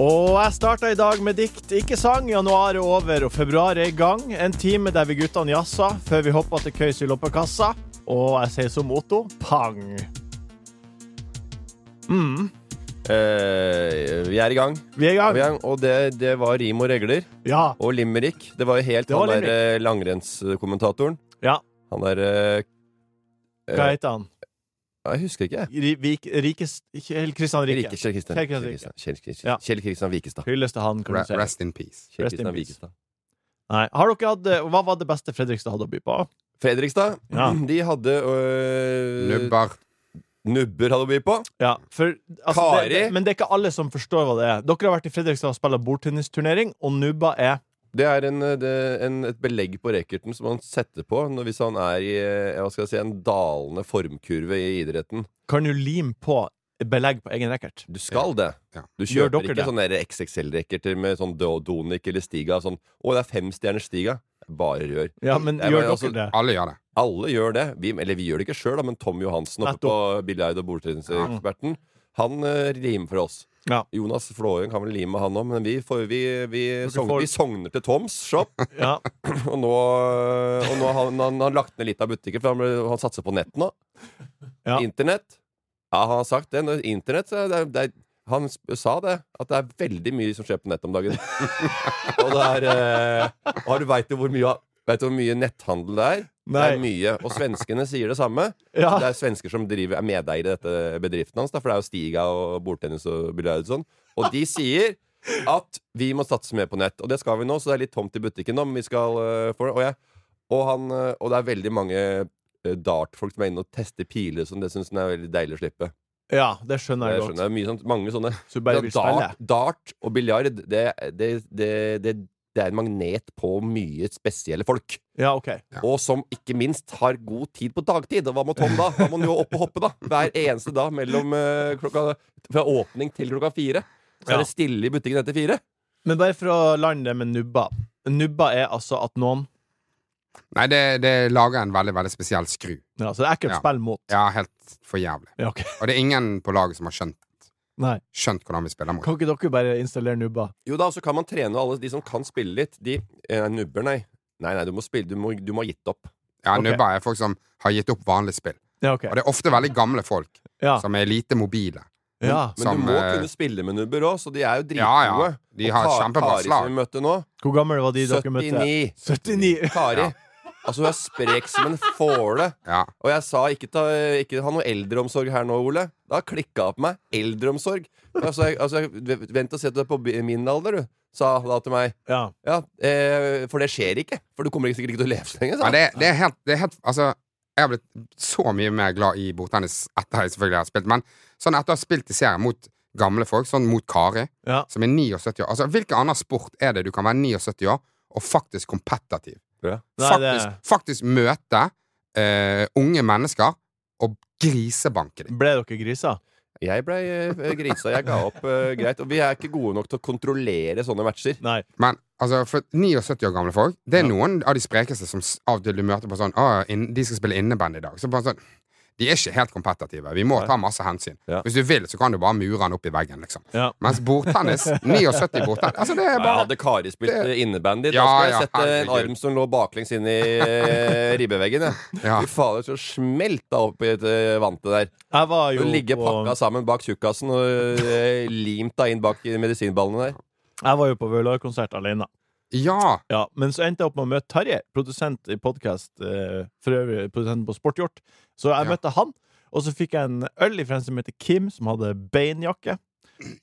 Og jeg starta i dag med dikt. Ikke sang. Januar er over, og februar er i gang. En time der vi guttene jazza før vi hoppa til køys i loppekassa. Og jeg sier som Otto pang. Mm, Eh, vi er i gang. vi er i Vi er i gang. gang. Og det, det var rim og regler. Ja. Og limerick. Det var jo helt Det var han der eh, langrennskommentatoren. ja. Han der eh, eh, Hva heter han? Jeg husker ikke. jeg. Ri- Vik- Rikes... Kjell Kristian Rikke. Rike. Kjell Kristian. Kjell Kristian Kjell Rikke. Kristian Kjell Kristian- Ja. Kjell Kristian Vikestad. Hylles til han, kan Re du si. rest in peace. Kjell Rest in Kristian peace. Vikestad. Nei. Har dere hatt eh, Hva var det beste Fredrikstad hadde å by på? Fredrikstad, Ja. de hadde øh, Nubber. Nubber hadde å by på. Ja, for, altså, Kari? Det, det, men det er ikke alle som forstår hva det er. Dere har vært i Fredrikstad og spilt bordtennisturnering, og Nubba er Det er en, eh, det, en, et belegg på racketen som han setter på når, hvis han er i eh, hva skal jeg si, en dalende formkurve i idretten. Kan jo lime på belegg på egen racket. Du skal det. Ja. Du Gjør kjøper dere ikke det? sånne der XXL-racketer med sånn Do- Donic eller Stiga. Sånn, 'Å, det er femstjerners Stiga'. Bare rør. Ja, men Nei, men gjør dere altså, det? Alle gjør det. Alle gjør det. Vi, eller vi gjør det ikke sjøl, da, men Tom Johansen oppe på Billeid og bordtreningseksperten, han eh, rimer for oss. Ja. Jonas Flåøyen kan vel lime, han òg, men vi, får, vi, vi, Dere sogn, får- vi sogner til Toms shop. Ja. Og nå, og nå har han, han har lagt ned litt av butikken, for han, ble- han satser på nett nå. Ja. Internett. Ja, han har sagt det. Når Internett, så er det, det er, Han sp- sa det, at det er veldig mye som skjer på nett om dagen. og det er eh, Og du veit jo hvor mye Vet du hvor mye netthandel det er? Det Nei. er mye. Og svenskene sier det samme. Ja. Det er svensker som driver, er medeier i dette bedriften hans, da, for det er jo Stiga og bordtennis og biljard og sånn. Og de sier at vi må satse mer på nett. Og det skal vi nå, så det er litt tomt i butikken nå, men vi skal eh, få det. Og, jeg, og, han, eh, og det er veldig mange eh, dartfolk som er inne og tester piler som det syns den er veldig deilig å slippe. ja, det skjønner jeg Jeg godt. skjønner, det er mye sånt, mange sånne Så du bare vil Ja, spille? dart, dart og biljard, det, det, det, det, det er en magnet på mye spesielle folk. Ja, OK. Ja. Og som ikke minst har god tid på dagtid. Og hva må Tom da? Da må han jo opp og hoppe, da. Hver eneste dag mellom eh, klokka Fra åpning til klokka fire. Ja. Så er det stille i butikken etter fire. Men bare for å lande det med Nubba. Nubba er altså at noen Nei, det, det lager en veldig, veldig spesiell skru. ja, Så det er ikke et Ja. spill mot. Ja, helt for jævlig. Ja, ok. Og det er ingen på laget som har skjønt, Nei. skjønt hvordan vi spiller mot. Kan ikke dere bare installere Nubba? Jo da, så kan man trene alle de som kan spille litt. De eh, nubber, nei. Nei, nei, du må spille. Du må, du må ha gitt opp. Ja, Ok. Nubber er folk som har gitt opp vanlig spill. Ja, OK. Og det er ofte veldig gamle folk Ja. som er lite mobile. ja. Men Som, du må eh, kunne spille med nubber òg, så de er jo dritgode. Ja, ja. De Og har Ka- kjempebra Kari slag. som vi møtte nå, Hvor gammel var de dere møtte? 79. 79. Kari. Ja. Altså, hun er sprek som en fåle. Ja. Og jeg sa ikke, ta, ikke ha noe eldreomsorg her nå, Ole. Da klikka det på meg. Eldreomsorg. Altså, jeg, altså, jeg, vent og se til du er på bi- min alder, du, sa da til meg. Ja. Ja, eh, for det skjer ikke. For du kommer ikke sikkert ikke til å leve så lenge. Men Sa. det, det er helt, det er helt Altså, jeg har blitt så mye mer glad i bordtennis etter jeg selvfølgelig har spilt, men sånn etter å ha spilt i serien mot gamle folk, sånn mot Kari, Ja. som er 79 år Altså, hvilken annen sport er det du kan være 79 år og faktisk kompetativ? Ja. Nei, det faktisk, faktisk møte eh, unge mennesker og grisebanke dem. Ble dere griser? Jeg blei eh, grisa. Jeg ga opp eh, greit. Og vi er ikke gode nok til å kontrollere sånne matcher. Nei. Men altså, for 79 år gamle folk, det er Ja. noen av de sprekeste som s- av og til du møter på sånn «Å, inn, De skal spille inneband i dag. Så bare sånn De er ikke helt kompetitive. Vi må ta masse hensyn. Ja. Hvis du vil, så kan du bare mure han opp i veggen, liksom. Ja. Mens bordtennis 79 bordtennis Altså, det Ja, er bare hadde Kari spilt det- eh, innebandy, da Ja, skulle jeg ja, sette en herregud. arm som lå baklengs inn i eh, ribbeveggen. jeg. Ja. Fy fader, så smelt da opp i et eh, vante der. Jeg var jo Du ligger pakka på, sammen bak tjukkasen og eh, limt deg inn bak i medisinballene der. jeg var jo på Vølar-konsert alene. Ja! Ja, men så endte jeg opp med å møte Tarjei, produsent i podkast, eh, for øvrig produsenten på Sporthjort. Så jeg Ja. møtte han, og så fikk jeg en øl ifra en som heter Kim, som hadde beinjakke.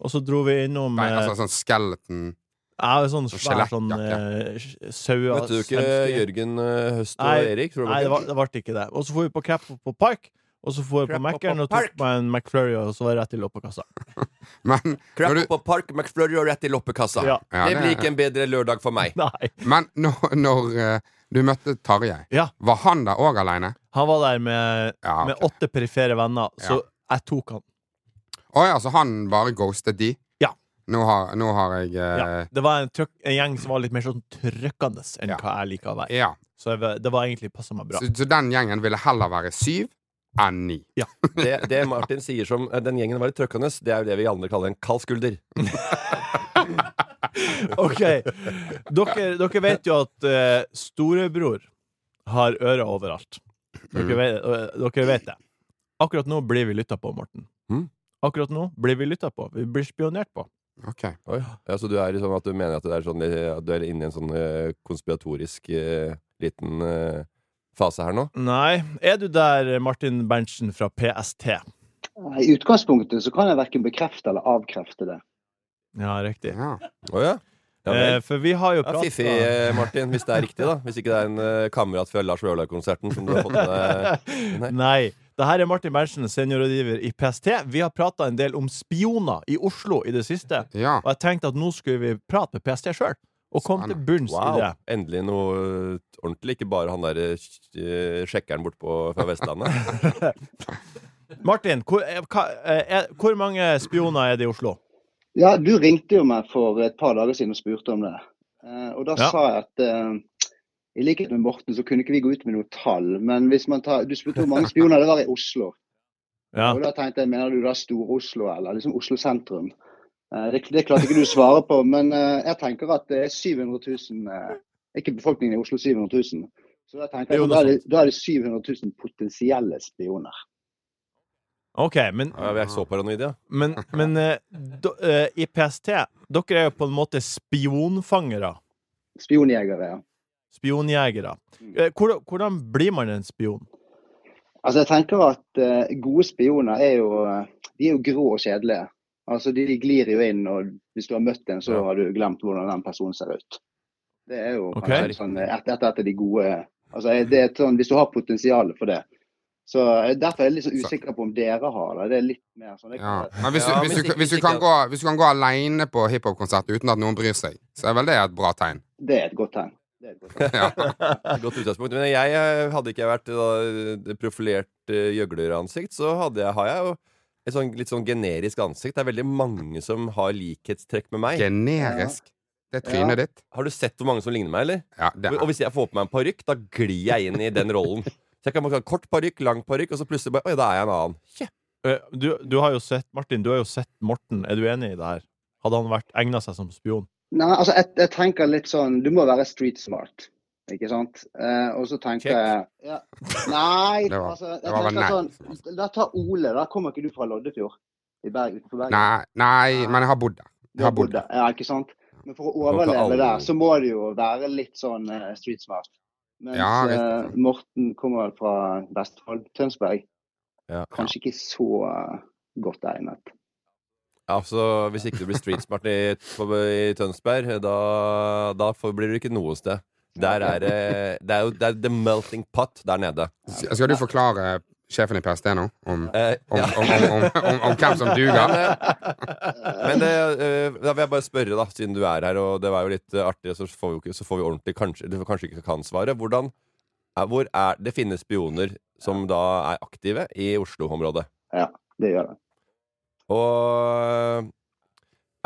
Og så dro vi innom Nei, eh, altså sånn skeleton Jeg har sånn svær skjelettjakke. sånn eh, saua Møtte du ikke svenskejakke. Jørgen eh, Høst og Nei, Erik? Tror du Nei, det var... var- det ble ikke det. Og så dro vi på Crap på Park, Og så for jeg på Crap Mac-en up og a tok meg en McFlurry, og så var jeg rett i loppekassa. Men Crap når du, på Park McFlurry og rett i loppekassa. Ja. Ja, det, det blir er- ikke en bedre lørdag for meg. Nei. men når, når eh, du møtte Tarjei, Ja. var han der òg aleine? Han var der med, Ja, ok. med åtte perifere venner, så Ja. jeg tok han. Å ja, så han bare ghostet de? Ja. Nå har, nå har jeg eh, Ja. Det var en, trøkk, en gjeng som var litt mer sånn trøkkende enn Ja. hva jeg liker å være. Eh, ja. Så jeg, var- det var egentlig passa meg bra. Så, så den gjengen ville heller være syv enn ni. Det, det Martin sier som eh, den gjengen var litt trøkkende, det er jo det vi andre kaller en kald skulder. OK. Dere, dere vet jo at eh, storebror har ører overalt. Mm. Dere vet, eh, dere vet det. Akkurat nå blir vi lytta på, Morten. Mm. Akkurat nå blir vi lytta på. Vi blir spionert på. Ok. Ja, så du er liksom at du mener at, det er sånn, eh, at du er inne i en sånn eh, konspiratorisk eh, liten eh, fase her nå? Nei. Er du der, Martin Berntsen fra PST? I utgangspunktet så kan jeg verken bekrefte eller avkrefte det. Ja, riktig. Ja. Å ja? Ja, vel. Eh, for vi har jo Ja, pratet Fiffig, eh, Martin, hvis det er riktig, da. Hvis ikke det er en eh, kamerat fra Lars Vaular-konserten som du har fått med deg. Nei. Nei. Det her er Martin Berntsen, seniorrådgiver i PST. Vi har prata en del om spioner i Oslo i det siste. ja. Og jeg tenkte at nå skulle vi prate med PST sjøl, og komme til Spennende. bunns i Wow, det. endelig noe eh, ordentlig. Ikke bare han der eh, eh, sjekkeren bortpå fra Vestlandet. Martin, hvor, eh, hva, eh, er, hvor mange spioner er det i Oslo? Ja, du ringte jo meg for et par dager siden og spurte om det. Eh, Og da Ja. sa jeg at eh, i likhet med Morten så kunne ikke vi gå ut med noe tall, men hvis man tar Du spurte hvor mange spioner det var i Oslo. Ja. Og da tenkte jeg, mener du da Stor-Oslo, eller liksom Oslo sentrum? Eh, Det, det klarte ikke du å svare på, men eh, jeg tenker at det er 700 000 eh, Er ikke befolkningen i Oslo 700 000? Så da tenker Jo, jeg noe at da er det, da er det 700 000 potensielle spioner. OK, men, Ja, vi er så paranoide, ja. men, men eh, do, eh, i PST Dere er jo på en måte spionfangere. Spionjegere, ja. Spionjegere. Eh, Hvordan, hvordan blir man en spion? Altså, jeg tenker at eh, gode spioner er jo eh, De er jo grå og kjedelige. Altså, de, de glir jo inn, og hvis du har møtt en, så Ja. har du glemt hvordan den personen ser ut. Det er jo Ok. kanskje litt sånn eh, et, et, et av de gode Altså, eh, det er et sånn Hvis du har potensial for det. Så eh, Derfor er jeg litt så usikker på om dere har det. Det er litt mer sånn det Ja. kan være- Men hvis, du- Ja, hvis, hvis du, ikke- hvis, du hvis kan ikke- gå, hvis du kan gå aleine på hiphop-konsert uten at noen bryr seg, så er vel det et bra tegn. Det er et godt tegn. Det er et godt tegn. Ja. Godt utgangspunkt. Men jeg eh, hadde ikke jeg vært eh, da, profilert eh, gjøgleransikt, så hadde jeg, har jeg jo et sånn, litt sånn generisk ansikt. Det er veldig mange som har likhetstrekk med meg. Generisk. Det er Ja. trynet ditt. Har du sett hvor mange som ligner meg, eller? Ja, det Og er. og hvis jeg får på meg en parykk, da glir jeg inn i den rollen. Så jeg kan bare ha kort parykk, lang parykk, og så plutselig bare Oi, da er jeg en annen. Eh, Du, du har jo sett Martin, du har jo sett Morten. Er du enig i det her? Hadde han vært egna seg som spion? Nei, altså jeg, jeg tenker litt sånn Du må være street smart, ikke sant? Eh, og så tenker Check. jeg ja. Nei, Det var- altså jeg det var vel tenker sånn Da tar Ole, da kommer ikke du fra Loddefjord? I Bergen, utenfor Bergen? Nei, nei, men jeg har bodd der. Du Jeg har bodd der. der. Ja, ikke sant? Men for å Kan ikke alle- overleve der, så må du jo være litt sånn eh, street smart. Mens Ja, riktig. eh, Morten kommer vel fra Vestfold, Tønsberg. Ja. Kanskje ikke så eh, godt egnet. Ja, så Hvis ikke du blir streetsmart i, på- i Tønsberg, da, da får, blir du ikke noe sted. Der er det Det er jo det er the melting pot der nede. S- Skal du forklare sjefen i PST nå om, Eh, om, ja. om, om, om, om, om hvem som duger? Men det, eh, da vil jeg bare spørre, da, siden du er her, og det var jo litt eh, artig, så får vi, jo ikke, så får vi ordentlig kanskje, Du kanskje ikke kan svaret. Hvordan er, hvor er, Det finnes spioner som da er aktive i Oslo-området. Det gjør det. Og eh,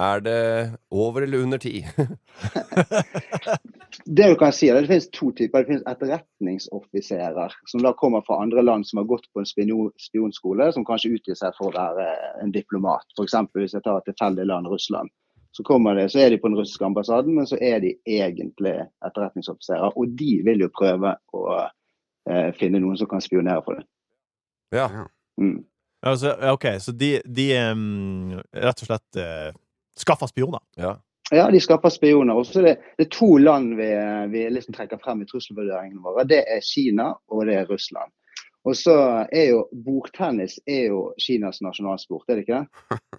er det over eller under ti? Det du kan si, er at det finnes to typer. Det finnes etterretningsoffiserer, som da kommer fra andre land som har gått på en spino- spionskole, som kanskje utgir seg for å være en diplomat. F.eks. hvis jeg tar et tilfeldig land, Russland. Så, kommer det, så er de på den russiske ambassaden, men så er de egentlig etterretningsoffiserer. Og de vil jo prøve å eh, finne noen som kan spionere for dem. Ja. Mm. Altså, ja, OK, så de, de em, rett og slett uh, skaffa spioner? ja. Ja, de skaper spioner. Og så er det, det er to land vi, vi liksom trekker frem i trusselvurderingene våre. Det er Kina og det er Russland. Og så er jo bordtennis er jo Kinas nasjonalsport, er det ikke det?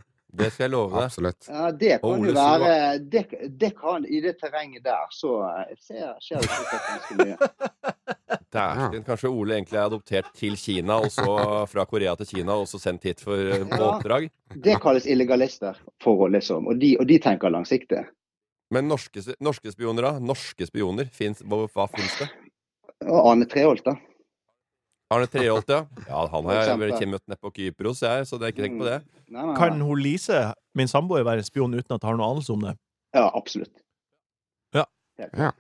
Det skal jeg love deg. Absolutt. Ja, det Og kan Ole jo være det, det kan, I det terrenget der så eh, ser- skjer det sikkert ganske mye. Dæsken. Kanskje Ole egentlig er adoptert til Kina, og så fra Korea til Kina, og så sendt hit for eh, på Ja. oppdrag. Det kalles illegalister, for å liksom. Og de, og de tenker langsiktig. Men norske, s- norske spioner, da? Norske spioner, finnes, hva, hva fins det? Og Arne Treholt, da. Arne Treholt, ja. ja. Han har jeg For vært eksempel. møtt nede på Kypros, jeg, så det er ikke tenk på det. Nei, nei, nei. Kan hun Lise, min samboer, være spion uten at jeg har noe anelse om det? Ja, absolutt. Ja. Helt. Ja.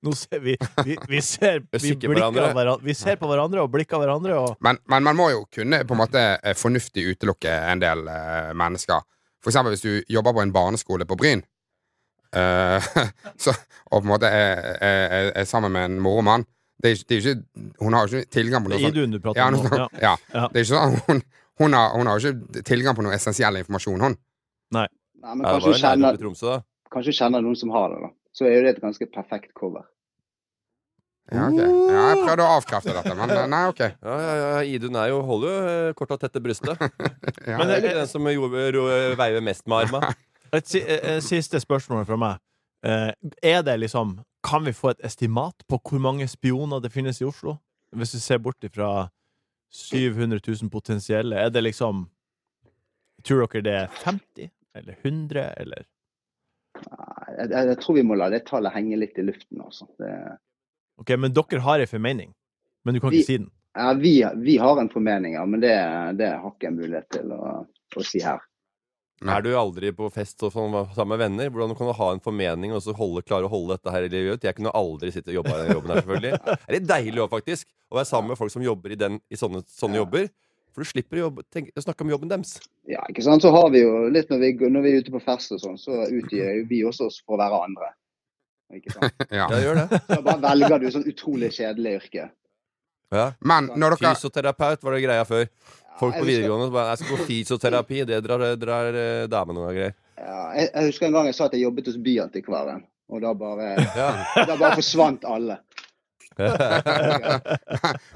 Nå ser vi Vi, vi ser er vi, sikre på blikker hverandre. hverandre. vi ser på hverandre og blikker hverandre og Men, men man må jo kunne på en måte eh, fornuftig utelukke en del eh, mennesker. For eksempel hvis du jobber på en barneskole på Bryn, eh, så, og på en måte er, er, er, er sammen med en mormann det er, ikke- det er ikke, Hun har jo ikke tilgang på Det noe er sånt. Idun du prater sånn? om Ja, noe nå. Ja. sånt. Ja. Ja. Det er ikke sånn at hun, hun, har, hun har jo ikke tilgang på noe essensiell informasjon, hun. Nei, men Ja, det var kanskje du jo nærmere kjenner, til Tromsø, da. kanskje du kjenner noen som har det, da. Så er jo det et ganske perfekt cover. Ja, ok. ja, jeg prøvde å avkrefte dette, men eh, nei, ok. Ja, ja, ja, Idun er jo, holder jo eh, korta tett til brystet. Ja. Men det er ikke den som gjorde- ro- veiver mest med arma. Et si, eh, eh, siste spørsmål fra meg. Eh, er det liksom Kan vi få et estimat på hvor mange spioner det finnes i Oslo? Hvis du ser bort ifra 700 000 potensielle, er det liksom Tror dere det er 50? Eller 100? Eller Nei, Jeg, jeg, jeg tror vi må la det tallet henge litt i luften, altså. Det, Ok, men dere har ei formening. Men du kan Vi- ikke si den. ja, vi, vi har en formening, ja, men det, det har ikke jeg mulighet til å, å si her. Nei. Er du aldri på fest og sånn sammen med venner? Hvordan kan du ha en formening og så holde, klare å holde dette her i livet ut? Jeg kunne aldri sitte og jobbe i den jobben her, selvfølgelig. Det er litt deilig òg, faktisk, å være sammen med folk som jobber i, den, i sånne, sånne jobber. For du slipper å, jobbe, tenke, å snakke om jobben deres. Ja, ikke sant? Så har vi jo litt når vi, når vi er ute på fest og sånn, så utgir jo vi også oss for å være andre. Ikke sant? Ja. Ja, gjør det. Da bare velger du sånn utrolig kjedelig yrke. Ja. Men når dere Fysioterapeut var det greia før. Folk på Ja, jeg husker- videregående som bare Jeg skal på fysioterapi. Det drar, drar eh, damene og greier. Ja, jeg, jeg husker en gang jeg sa at jeg jobbet hos Byantikvaren, og da bare, Ja. da bare forsvant alle.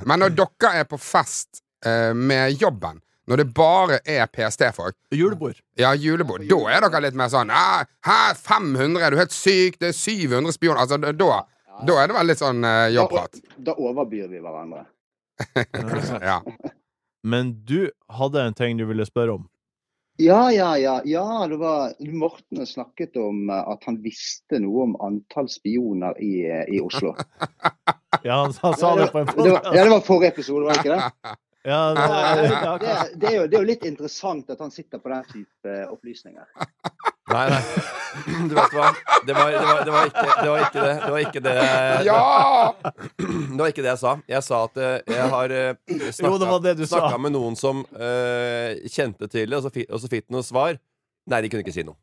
Men når dere er på fest eh, med jobben, når det bare er PST-folk Julebord. Ja, julebord. Da er dere litt mer sånn «Æ, Hæ, 500? Er du helt syk? Det er 700 spioner. Altså, da, da- da er det vel litt sånn eh, Da, jobbprat. da overbyr vi hverandre. Ja. Men du hadde en ting du ville spørre om. Ja, ja, ja. ja det var, Morten snakket om eh, at han visste noe om antall spioner i, eh, i Oslo. Ja, han, han sa det på en Det var, ja, podcast. det var forrige episode, var det ikke det? Ja, det, det, Det, det, er jo, det er jo litt interessant at han sitter på den type eh, opplysninger. Nei, nei. Du vet hva. Det var, det, var, det, var ikke, det var ikke det. Det var ikke det, Ja! det, var ikke det jeg sa. Jeg sa at eh, jeg har eh, snakka, Jo, det var det du sa. snakka med noen som eh, kjente til det, og så, fi, og så fikk de noe svar. Nei, de kunne ikke si noe.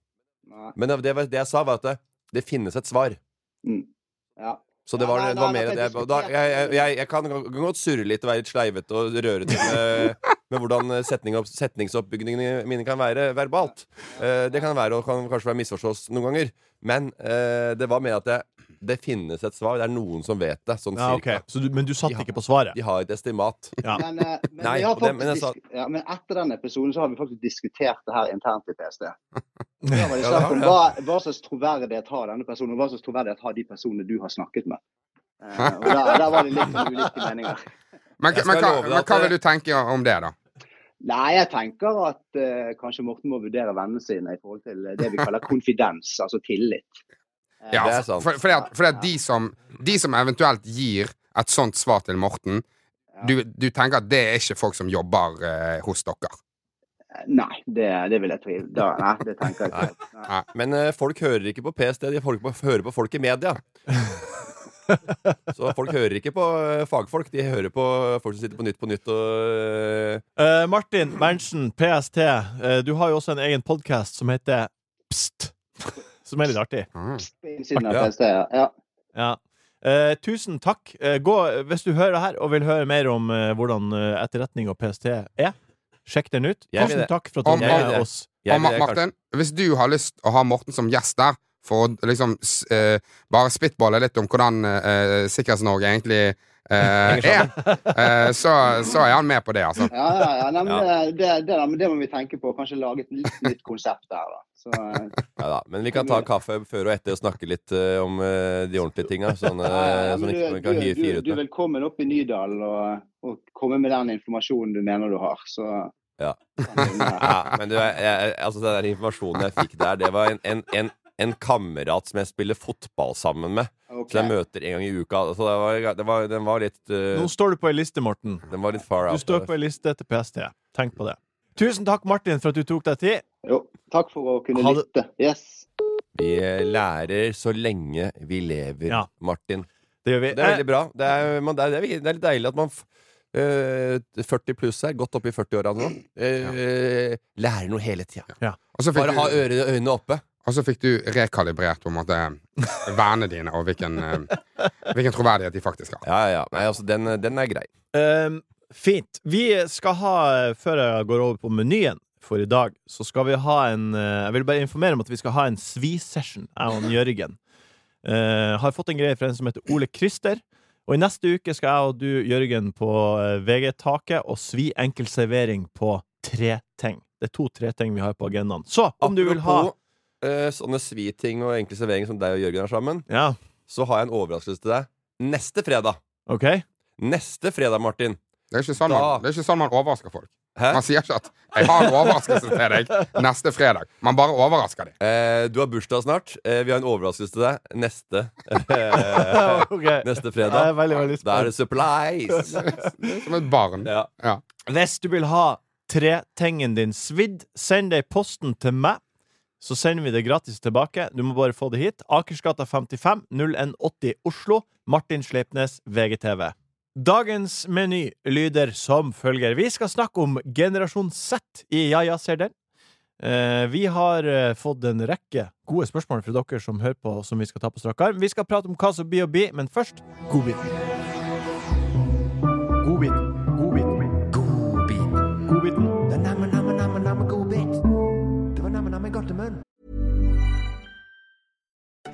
Nei. Men det, var- det jeg sa, var at det, det finnes et svar. Mm. Ja. Så det var, Nei, nei, det var nei, mer dette det. er Og Da, jeg, jeg, jeg, jeg kan, kan godt surre litt og være litt sleivete og rørete med, med hvordan setning, opp- setningsoppbygningene mine kan være verbalt. Eh, det kan være og kan kanskje være misforstås noen ganger. Men eh, det var mer at det, det finnes et svar. Det er noen som vet det. Sånn ja, ok. cirka. Så du, men du satt Ja. ikke på svaret? De har et estimat. Ja. Men, eh, men, Nei, vi har og det- faktisk, men jeg sa- disk- ja, men etter den episoden så har vi faktisk diskutert det her internt i PST. Da var det Ja, snakk det om har hva, hva slags troverdighet har denne personen, og hva slags troverdighet har de personene du har snakket med. Eh, og der, der var det litt sånn ulike meninger. Men, Jeg skal men, hva, love deg at men eh, hva det- vil du tenke om det, da? Nei, jeg tenker at eh, kanskje Morten må vurdere vennene sine i forhold til det vi kaller konfidens, altså tillit. Eh, Ja, Det er sant. for, fordi at, fordi at de, som, de som eventuelt gir et sånt svar til Morten, du, du tenker at det er ikke folk som jobber eh, hos dere? Nei, det, det vil jeg tvive. Da, nei, det tenker jeg ikke. Nei. Men eh, folk hører ikke på PST. De folk, hører på folk i media. Så folk hører ikke på eh, fagfolk. De hører på folk som sitter på Nytt på Nytt og eh, Eh, Martin Berntsen, PST, eh, du har jo også en egen podkast som heter Pst, som er litt artig. Mm. Siden av Ja. PST, ja. ja. Ja. Eh, tusen takk. Eh, gå, hvis du hører det her og vil høre mer om eh, hvordan eh, etterretning og PST er, sjekk den ut. Jeg vil Tusen det. takk for at du Om- var Jeg vil med det. oss. jeg Og Ma- vil kanskje- Martin, hvis du har lyst å ha Morten som gjest der, for å liksom s- eh, bare spitballe litt om hvordan eh, eh, Sikkerhets-Norge egentlig eh, er, eh, så, så er han med på det, altså. Ja, ja, ja, nei, men Det, det, det, da, men det må vi tenke på. Kanskje lage et litt nytt konsept der, da. Så, eh, Ja, da. Men vi kan ta kaffe før og etter og snakke litt eh, om eh, de ordentlige tinga. Sånn, eh, ja, sånn men ikke man du, kan du, hi- du, fire ut du er med. velkommen opp i Nydalen og, og komme med den informasjonen du mener du har. Så Ja. Kan du- Ja, men du, jeg, jeg, altså, den der informasjonen jeg fikk der, det var en, en, en, en kamerat som jeg spiller fotball sammen med. ok. Så jeg møter en gang i uka. Så det var, det var, den var litt eh, Nå står du på ei liste, Morten. Den var litt far Du out. står på ei liste til PST. Tenk på det. Tusen takk, Martin, for at du tok deg tid. Jo, takk for å kunne Ha det. lytte. Yes. Vi lærer så lenge vi lever, Ja. Eh, Martin. Det gjør vi. Det er veldig bra. Det er, man, det er, det er, det er litt deilig at man f- eh, 40 pluss er godt oppe i 40-åra nå. eh, Lærer noe hele tida. Og så fikk Bare ha du, øre, øynene oppe. og så fikk du rekalibrert på en måte vennene dine, og hvilken, eh, hvilken troverdighet de faktisk har. Ja, ja, ja. Nei, altså, den, den er grei. Ehm, fint. Vi skal ha, før jeg går over på menyen for i dag, så skal vi ha en eh, Jeg vil bare informere om at vi skal ha en svi-session, jeg og Jørgen. Eh, har fått en greie fra en som heter Ole Christer. Og i neste uke skal jeg og du, Jørgen, på eh, VG-taket og svi enkel servering på tre ting. Det er to tre ting vi har på agendaen. Så om du vil ha Apropos, eh, sånne sviting og enkle serveringer som deg og Jørgen har sammen, Ja, så har jeg en overraskelse til deg. Neste fredag. OK? Eh, Neste fredag, Martin. Det er ikke sånn man, Da- det er ikke sånn man overrasker folk. Hæ? Man sier ikke at 'jeg har en overraskelse til deg neste fredag'. Man bare overrasker dem. Eh, du har bursdag snart. Eh, vi har en overraskelse til deg neste, eh, Ok. neste Jeg er fredag. veldig, veldig Da er spent. det surprise! Som et barn. Ja. Ja. Hvis du vil ha tretingen din svidd, send det i posten til meg. Så sender vi det gratis tilbake. Du må bare få det hit. Akersgata 55, 0180 Oslo. Martin Sleipnes, VGTV. Dagens meny lyder som følger. Vi skal snakke om generasjon Z i Ja ja, ser den. Eh, vi har eh, fått en rekke gode spørsmål fra dere som hører på, som vi skal ta på strak arm. Vi skal prate om hva som blir å bli, men først godbiten. Godbiten. Godbiten. Godbiten.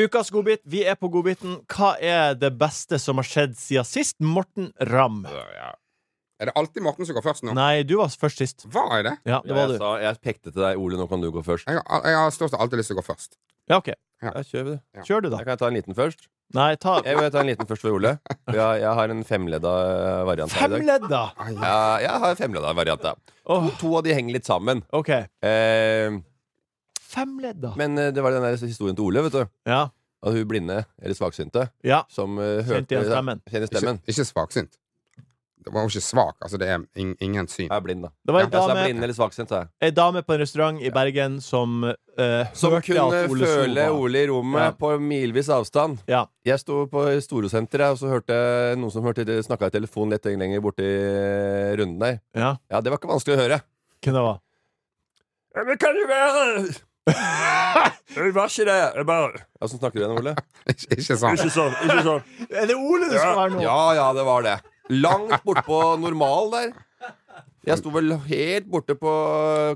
Ukas godbit. Vi er på godbiten. Hva er det beste som har skjedd siden sist? Morten Ramm. Er det alltid Morten som går først nå? Nei, du var først sist. Var jeg det? Ja, det var jeg, du. sa, jeg pekte til deg, Ole, nå kan du gå først. Jeg har, jeg har stort sett alltid lyst til å gå først. Ja, OK. Ja, kjør vi det. Kjør du, da. Jeg kan ta en liten først. Nei, ta Jeg vil ta en liten først for Ole. Jeg, jeg har en femledda eh, variant her i dag. femledda! Ja, jeg har en femledda variant, ja. To, Åh, to av de henger litt sammen. OK. Eh, Femledda. men eh, det var den der historien til Ole, vet du. Ja. At hun blinde, eller svaksynte, ja. som eh, Kjente hørte igjen stemmen. Kjenner Ikke, stemmen. ikke svaksynt. Det var jo ikke svak. Altså, det er ing, ingen syn. Jeg er blind, da. Det var Ja, ei jeg sa dame, blind eller svaksynt, sa jeg. ei dame på en restaurant i Bergen som eh, Som hørte kunne at Ole Soo føle var- Ole i rommet Ja. på milvis avstand. Ja. Jeg sto på Storosenteret, og så hørte jeg noen som hørte snakka i telefonen litt lenger borti runden der. ja. Ja, det var ikke vanskelig å høre. Hvem det var? Ja, Men kan du være Det var ikke det. Jeg bare Ja, Sånn snakker du igjen, Ole? Ikke, ikke sånn. sånn. Ikke sånn. Er det Ole det skal være nå? Ja, ja, det var det. Langt bortpå normal der. Jeg sto vel helt borte på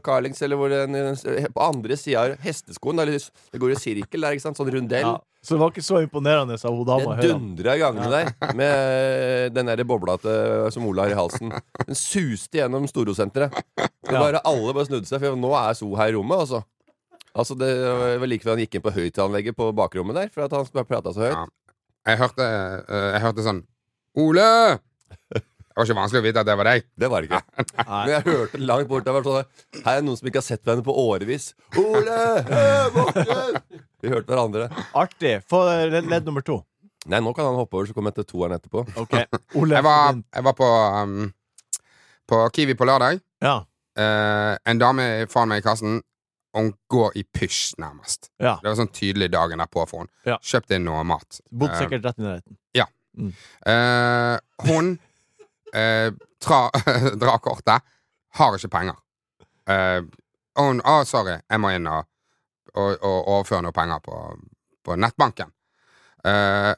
Carlings, eller hvor den, den På andre sida av hesteskoen. Der, det går i sirkel der, ikke sant? Sånn rundell. Ja. Så det var ikke så imponerende, sa hun dama. Det hører han. dundra i gangene der med eh, den der bobla til, som Ola har i halsen. Den suste gjennom Storosenteret. Det Ja. Bare Alle bare snudde seg, for nå er So her i rommet, altså. Altså Det var like før han gikk inn på høyttalanlegget på bakrommet der, for at han bare prata så høyt. Ja. Jeg hørte, eh, jeg hørte sånn Ole! Det var ikke vanskelig å vite at det var deg. Det var det ikke. Men jeg hørte langt bort der, var sånn, Her er noen som ikke har sett hverandre på årevis. Ole! Hey, Morten! Vi hørte hverandre. Artig. Få ledd ledd nummer to. Nei, nå kan han hoppe over, så kommer jeg til toeren etterpå. OK. Ole. Jeg var, jeg var på, um, på Kiwi på lørdag. Ja. Eh, en dame foran meg i kassen Og hun går i pysj, nærmest. Ja. Det var sånn tydelig dagen derpå for henne. Ja. Kjøpte inn noe mat. Bodde Eh, sikkert rett i nærheten. Eh, hun eh, tra, drar kortet. Har ikke penger. Eh, og hun Å, sorry, jeg må inn og, og, og overføre noe penger på, på nettbanken. Eh,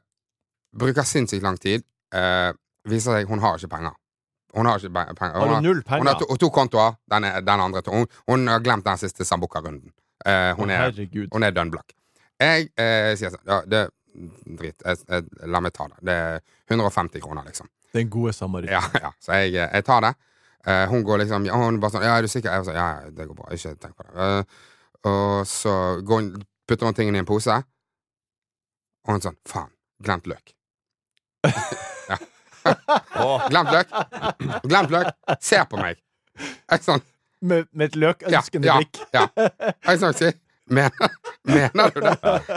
bruker sinnssykt lang tid. Eh, viser seg hun har ikke penger. Hun har ikke pe- penger. Har Hun du null hun har penger? to, to kontoer. Den, er- den andre to. Hun, hun har glemt den siste Sambuca-runden. Eh, hun er Herregud. hun er dønn blakk. Jeg eh, sier sånn Ja, det Drit. Jeg, jeg, la meg ta det. Det er 150 kroner, liksom. Den gode samaritan. Ja, ja. Så jeg, eh, jeg tar det. Eh, hun går liksom ja, Hun bare sånn Ja, er du sikker? Jeg var sånn, ja, ja, det går bra. Ikke tenk på det. Eh, og så går hun, putter hun tingene i en pose, og hun sånn Faen. Glemt løk. ja. glemt løk. Glemt løk. Ser på meg. Jeg sånn Med, med et løkønskende ja, blikk. Ja. Jeg skal si mener, mener du det?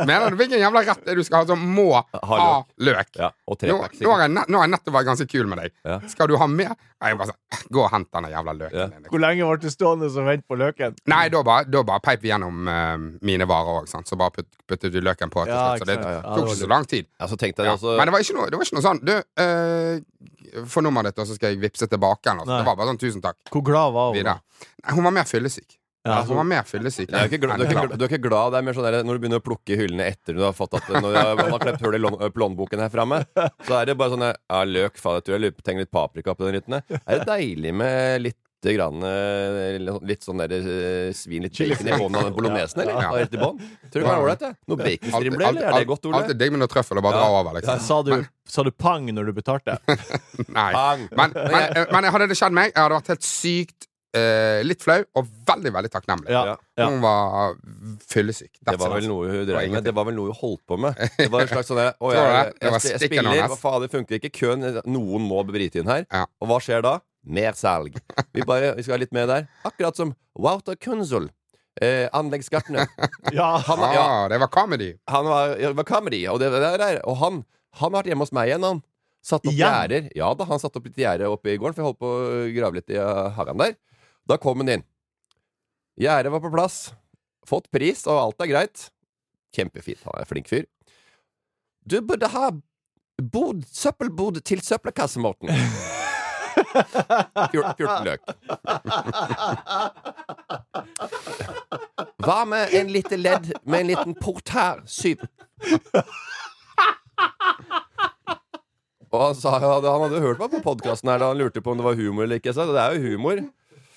Mener du Hvilken jævla rett er det du skal ha som må Ha ha løk? Ja, og Nå, trepack, nå, har sikkert. jeg, nett- nå har jeg nettopp vært ganske kul med deg. Ja. Skal du ha mer? Nei, Jeg bare sånn, Gå og hent den jævla løken Ja. din. liksom. Hvor lenge ble du stående og vente på løken? Nei, da bare, da bare peip vi gjennom eh, mine varer òg, så bare putt, puttet du løken på. Til Ja, slutt, så det ikke sant. Ja, tok det ikke var så lang tid. Ja, så tenkte jeg Ja. altså Men det var ikke noe, det var ikke noe sånn Du, eh, få nummeret ditt, og så skal jeg vippse tilbake. Eller, noe sånt. Nei. det var bare sånn 'tusen takk'. Hvor glad var hun? Videre. Nei, hun var mer fyllesyk. Ja, hun var mer fyllesyk. Nei, Du er, ikke glad, du, er ikke glad, du er ikke glad, det er mer sånn der, Når du begynner å plukke i hyllene etter du har fått at Når du har- man har klept hull i lom- opp lommeboken her framme, så er det bare sånn der, Ja, løk, faen, jeg tror jeg lurer- trenger litt paprika på den rytten. her. Er det deilig med litt grann, eh, litt sånn der eh, svin, litt Chili bacon i bånn av den bolognesen, eller? Ja. Ja. Helt i bånn? Tror du det kan være ålreit, det? Noe baconstrimler, Alltid- eller? Er det alltid- godt, Ole? Alltid digg med noe trøffel og bare dra over, liksom. Sa du, sa du pang når du betalte? Nei. Pang! Men, men, eh, men hadde det skjedd meg, jeg hadde vært helt sykt eh, litt flau og veldig, veldig takknemlig. Ja. ja. Hun var fyllesyk. Det var vel noe hun drev med. Det var vel noe hun holdt på med. Det var en slags sånn Å, Tror jeg, du jeg, det? Det var sp- stikken spiller, hans. hva faen, det funker ikke. Køen Noen må bryte inn her. Ja. Og hva skjer da? Mer salg. Vi, bare, vi skal ha litt mer der. Akkurat som Wouter Kunzel. Eh, anleggsgartner. ja. Han, Ah, ja, det var comedy. han var, ja, det var comedy, og det det der. Og han, han har vært hjemme hos meg igjen, han. Satt opp Igjen? gjerder. Ja da, han satte opp litt gjerde oppe i gården, for jeg holdt på å grave litt i eh, hagen der. Da kom han inn. Gjerdet var på plass. Fått pris, og alt er greit. Kjempefint. Han er en flink fyr. Du burde ha bod, søppelbod til søppelkasse, Morten. Fjor- 14 løk. Hva med en lite ledd med en liten port her? Syv. Og han, sa, han hadde- han hadde hørt meg på podkasten her da han lurte på om det var humor eller ikke. Så det er jo humor.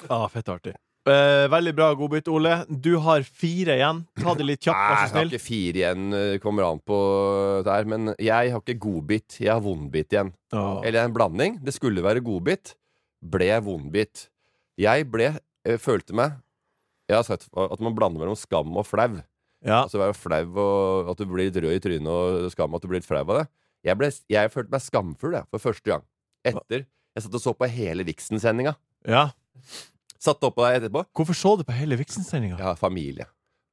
Ah, fett artig. Eh, veldig bra godbit, Ole. Du har fire igjen. Ta det litt kjapt, Nei, vær jeg så har snill. ikke fire igjen, eh, kommer an på der. Men jeg har ikke godbit. Jeg har vondbit igjen. Åh. Eller en blanding. Det skulle være godbit. Ble vondbit. Jeg ble eh, Følte meg Jeg har sagt at man blander mellom skam og flau. Ja. Altså være flau og at du blir litt rød i trynet og skam at du blir litt flau av det. Jeg, ble, jeg følte meg skamfull jeg, for første gang. Etter Jeg satt og så på hele Vixen-sendinga. ja. Satt oppå der etterpå. Hvorfor så du på hele Vixen-sendinga? Jeg har familie.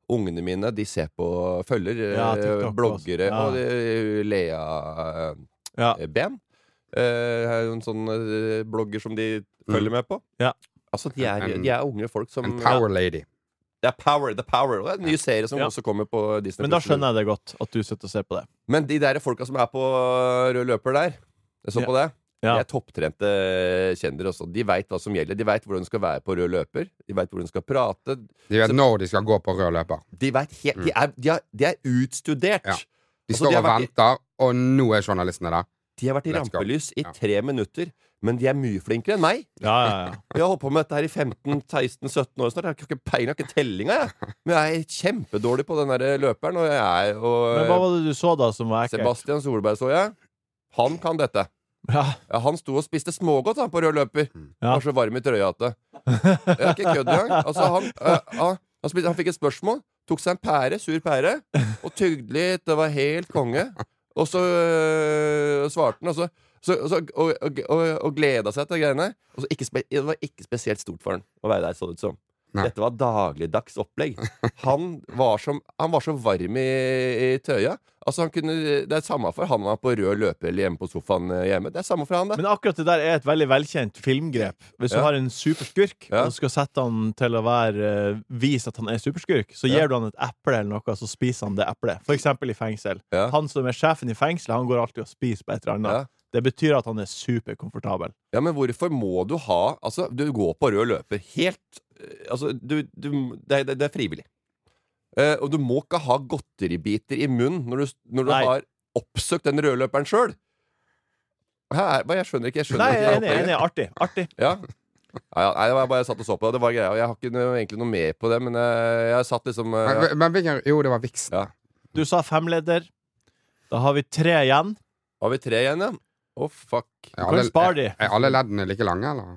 Ungene mine de ser på følger eh, Ja, TikTok bloggere også. og Ja. eh, Lea Ja. eh, Ben. Eh, er jo en sånn eh, blogger som de følger med på. Mm. Ja. Altså, de er, de er unge folk som En power lady. Det er Power. The Power. Og det er en ny serie som Ja. også kommer på Disney. Men da skjønner jeg det godt, at du sitter og ser på det. Men de der folka som er på rød løper der Jeg så på det. Ja. De er topptrente kjendere også. De veit hva som gjelder. De veit hvordan de skal være på rød løper. De veit hvordan de skal prate. De vet når de skal gå på rød løper. De, vet helt, Mm. de, er, de, er, de er utstudert. Ja. De Altså, står de har og vært i- venter, og nå er journalistene der. De har vært i Let's go. rampelys i Ja. tre minutter, men de er mye flinkere enn meg. Ja, ja, ja. Jeg har holdt på med dette her i 15-16-17 år snart. Jeg har ikke peiling, jeg har ikke tellinga, jeg. Men jeg er kjempedårlig på den der løperen. Og jeg er Men hva og, var det du så da som var ekkelt? Sebastian Solberg så jeg. Han kan dette. Ja. Ja, han sto og spiste smågodt han, på rød løper. Ja. Han var så varm i trøya at det. Jeg er ikke kødd engang. Altså, han, eh, han, han, spiste, han fikk et spørsmål, tok seg en pære, sur pære, og tygde litt. Det var helt konge. Og så øh, svarte han, og så så, og så, og, og, og, og gleda seg til greiene. Og så ikke spe, det var ikke spesielt stort for han å være der, så det ut som. Nei. Dette var dagligdags opplegg. Han var, som, han var så varm i, i tøya. Altså han kunne, det er samme for han var på rød løper eller hjemme på sofaen eh, hjemme. Det er samme for han, det. Men akkurat det der er et veldig velkjent filmgrep. Hvis Ja. du har en superskurk Ja. og skal sette han til å være eh, vise at han er superskurk, så Ja. gir du han et eple eller noe, så spiser han det eplet. For eksempel i fengsel. Ja. Han som er sjefen i fengselet, han går alltid og spiser på et eller annet. Ja. Det betyr at han er superkomfortabel. Ja, men hvorfor må du ha Altså, du går på rød løper helt eh, Altså, du, du det, er- det, det er frivillig. Eh, og du må ikke ha godteribiter i munnen når du, når du Nei. har oppsøkt den røde løperen sjøl. Jeg skjønner ikke. Jeg skjønner Nei, ikke jeg er enig. jeg er opplegget. enig. Artig. Artig. Ja. Ja, ja, nei, det var bare jeg satt og så på det. Det var greia. og Jeg har ikke noe, egentlig noe med på det, men eh, jeg satt liksom eh, Men, men hvilken Jo, det var Vixen. Ja. Du sa femleder. Da har vi tre igjen. Har vi tre igjen, ja? Å, fuck. Er Du kan alle- spare de. Er alle leddene like lange, eller?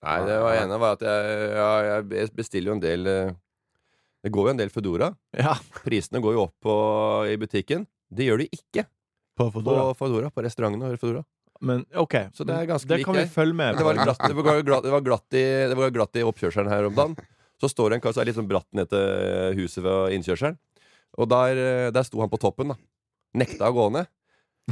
Nei, det var ene var at jeg, ja, jeg bestiller jo en del eh, Det går jo en del Foodora. Ja, Prisene går jo opp på, i butikken. Det gjør de ikke på på Fodora. Foodora, på restaurantene. og Foodora. Men OK. Så det er ganske det lik kan vi her. følge med Det var på. glatt, det var glatt, det var glatt, i, det var glatt i oppkjørselen her om dagen. Så står det en kar som er litt sånn bratt ned til huset ved innkjørselen. Og der, eh, der sto han på toppen, da. Nekta å gå ned.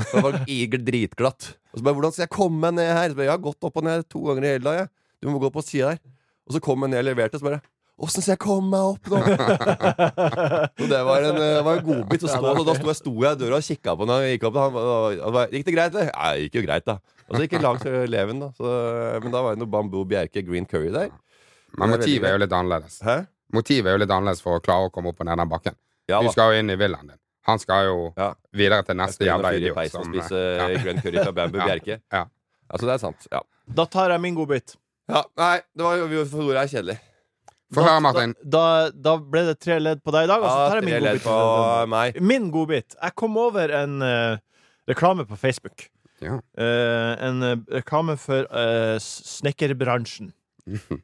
Så det var igel dritglatt. Og så bare 'Hvordan skal jeg komme meg ned her?' Så bare, 'Jeg har gått opp og ned to ganger i hele dag, jeg. Du må gå på sida der.' Og så kom jeg ned og leverte, så bare 'Åssen skal jeg komme meg opp nå?' Og det var en, eh, det var en godbit. å stå, og da sto jeg, sto jeg i døra og kikka på når han gikk opp. og Han, og, og, bare, gikk det greit, eller? Nei, det gikk jo greit, da. Og så gikk det langt til leven, da. Så, eh, men da var det noe bambu, bjerke, green curry der. Det Men er veldig motivet er jo litt annerledes. Hæ? Motivet er jo litt annerledes for å klare å komme opp og ned den bakken. Ja Du da. skal jo inn i villaen din. Han skal jo Ja. videre til Jeg neste skal inn og jævla fyre i idiot. peisen og Som, eh, spise eh, ja. grønn curry fra bambu, Ja. bjerke. Ja. Altså, det er sant. Ja. Da tar jeg min godbit. ja. Nei, det var jo ordet er kjedelig. Få høre, Martin. Da, da ble det tre ledd på deg i dag. Og så Ja, tar jeg altså, min tre ledd godbit. på meg. Min godbit. Jeg kom over en eh, reklame på Facebook. Ja. Eh, en eh, reklame for eh, s- snekkerbransjen.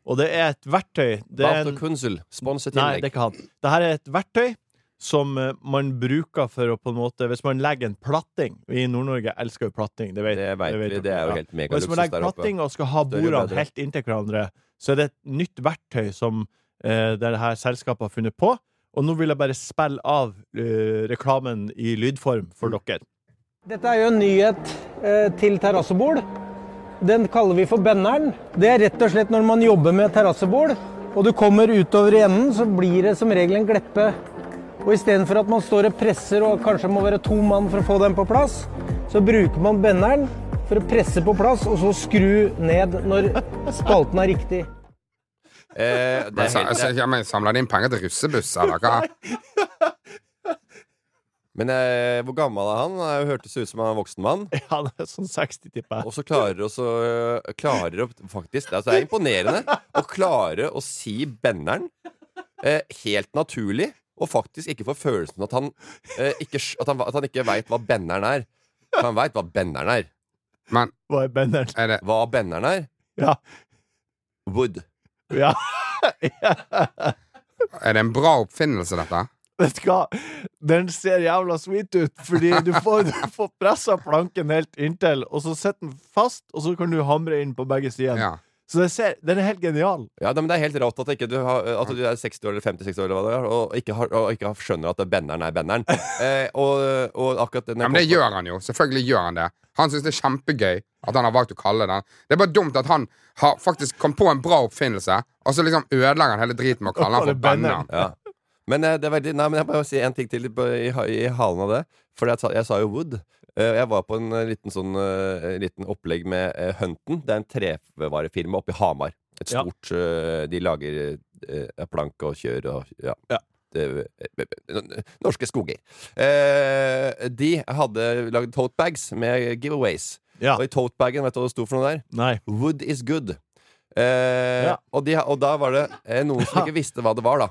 Og det er et verktøy. Det er Bart en, og Kunzel, sponset nei, det er innlegg. ikke han. Dette er et verktøy som eh, man bruker for å på en måte Hvis man legger en platting Vi i Nord-Norge elsker jo platting. Det vet, Det vet vi. dere. Det er Ja. jo helt Og hvis megaluksus man legger der oppe. platting og skal ha Større og bedre. bordene helt inntil hverandre, så er det et nytt verktøy som eh, det her selskapet har funnet på. Og nå vil jeg bare spille av eh, reklamen i lydform Mm. for dere. Dette er jo en nyhet eh, til terrassebol. Den kaller vi for benneren. Det er rett og slett når man jobber med terrassebol, og du kommer utover i enden, så blir det som regel en gleppe. Og istedenfor at man står og presser og kanskje må være to mann for å få den på plass, så bruker man benneren for å presse på plass, og så skru ned når spalten er riktig. Eh, det Men, er sa- helt, altså, ja, men samler de inn penger til russebuss, eller hva? Men eh, hvor gammel er han? Han hørtes ut som han er en voksen mann. Han er sånn 60, tipper jeg. Og så klarer å så, øh, klarer å, faktisk, det er- altså, det er imponerende å klare å si benneren eh, helt naturlig, og faktisk ikke få følelsen at han eh, ikke, sk- at han, at han ikke veit hva benneren er. For Han veit hva benneren er. Men Var i benderen. er det Hva benneren er? Ja. Wood. ja. Er det en bra oppfinnelse, dette? Vet du hva? Den ser jævla sweet ut, fordi du får, du får pressa planken helt inntil, og så sitter den fast, og så kan du hamre inn på begge sider. Ja. Så det ser, den er helt genial. Ja, nei, men Det er helt rått at, ikke du, har, at du er 60 år eller 50-60 år eller hva det er, og ikke, har, og ikke har- skjønner at benneren er benneren. Eh, og, og akkurat den ja, Men det gjør han jo. Selvfølgelig gjør han det. Han syns det er kjempegøy at han har valgt å kalle den Det er bare dumt at han har faktisk kom på en bra oppfinnelse, og så liksom ødelegger han hele driten med å kalle han for Benneren. Benneren. Ja. Men eh, det er veldig Nei, men jeg må si en ting til på- i, ha- i halen av det. For jeg, sa- jeg sa jo Wood. Eh, Jeg var på en eh, liten sånn eh, liten opplegg med eh, Hunten. Det er en trevarefirma oppe i Hamar. Et Ja. stort eh, De lager eh, eh, plank og kjør og ja. Ja. Det- eh, eh, Norske skoger. Eh, de hadde lagd tote bags med giveaways. Ja. Og i tote bagen, vet du hva det sto for noe der? Nei. Wood is good. Eh, Ja. og, de, og da var det eh, noen som ikke visste hva det var, da.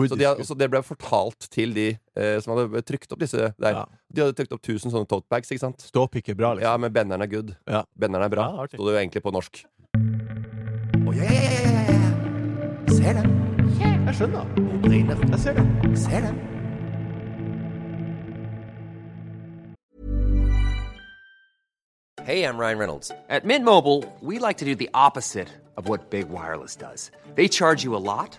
Så, de, Wood hadde- så det ble fortalt til de eh, som hadde trykt opp disse der. Ja. De hadde trykt opp 1000 sånne tote bags, ikke sant? Ståpikk er bra, Ja, liksom. men benneren er good. Ja. Benneren er bra. Ja, artig. Sto det jo egentlig på norsk. Å, ja, ja, ja, ja, ja, ja. Ser den. Jeg skjønner. Hun brenner. Jeg ser det. Ser den. Hey, I'm Ryan Reynolds. At Mint Mobile, we like to do the opposite of what Big Wireless does. They charge you a lot,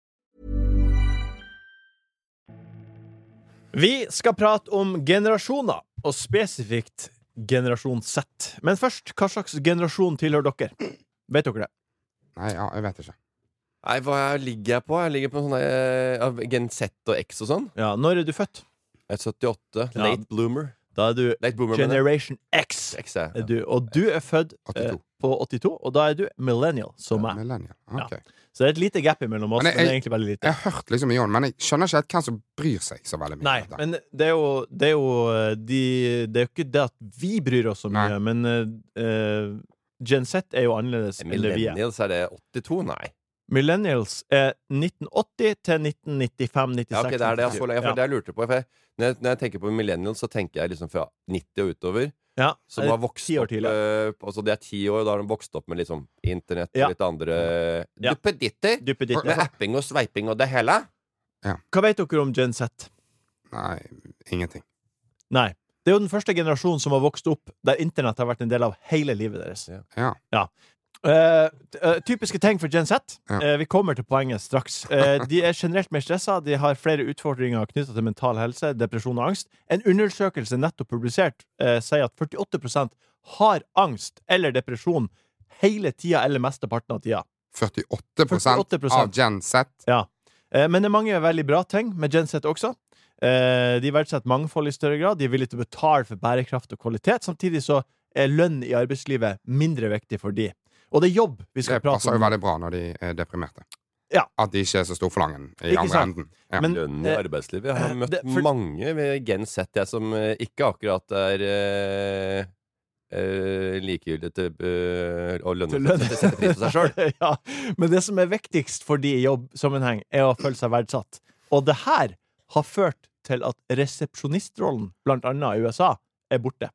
Vi skal prate om generasjoner, og spesifikt generasjon Z. Men først, hva slags generasjon tilhører dere? Vet dere det? Nei, ja, jeg vet ikke. Nei, hva ligger jeg på? Jeg ligger på sånne eh, Gen Z og X og sånn. Ja, Når er du født? Jeg er 78. Ja. Eh, Late bloomer. Da er du Late bloomer mener jeg. Generation X. X er Er jeg. du, og du er født eh, 82. på 82, og da er du millennial, som meg. Millennial. Ok. Så det er et lite gap imellom oss, Men jeg- men det er egentlig veldig lite. Jeg har hørt liksom Jon, men jeg skjønner ikke helt hvem som bryr seg så veldig mye. Nei, om dette. men det er jo Det er jo, eh, de, det er jo ikke det at vi bryr oss så mye, Nei. men eh, eh, Gen Z er jo annerledes enn det vi er. Millennials, er det 82? Nei. Millennials er 1980 til 1995, 96, Ja, ok, det er det. Så lenge, for Ja. det jeg lurte på. For jeg, når, jeg, når jeg tenker på millennials, så tenker jeg liksom fra 90 og utover. Ja, Som har vokst ti år opp tidligere. eh, Altså det er ti år, og da har de vokst opp med liksom internett Ja. og litt andre Ja. duppeditter. Duppeditter. altså. Med apping og sveiping og det hele. Hva vet dere om Gen Z? Nei, ingenting. Nei. Det er jo den første generasjonen som har vokst opp der internett har vært en del av hele livet deres. Ja. Eh, t- eh, typiske ting for Gen Z. Ja. Eh, vi kommer til poenget straks. Eh, de er generelt mer stressa, de har flere utfordringer knytta til mental helse, depresjon og angst. En undersøkelse nettopp publisert eh, sier at 48 har angst eller depresjon hele tida eller mesteparten av tida. 48, 48%. av Gen Z. Ja. Eh, Men det er mange veldig bra ting med Genset også. Eh, De verdsetter mangfold i større grad. De er villige til å betale for bærekraft og kvalitet. Samtidig så er lønn i arbeidslivet mindre viktig for de. Og det er jobb vi Det skal prate passer jo om. veldig bra når de er deprimerte. Ja. At de ikke er så storforlangen i Ikke andre sant? enden. Ja. Men- Lønnen i eh, arbeidslivet. Jeg har møtt det- for- mange ved Gen Z jeg som eh, ikke akkurat er eh, eh, likegyldig til eh, å lønne Til til lønn. Sette pris på seg sjøl. ja. Men det som er viktigst for de i jobbsammenheng, er å føle seg verdsatt. Og det her har ført til at resepsjonistrollen, blant annet i USA, er borte.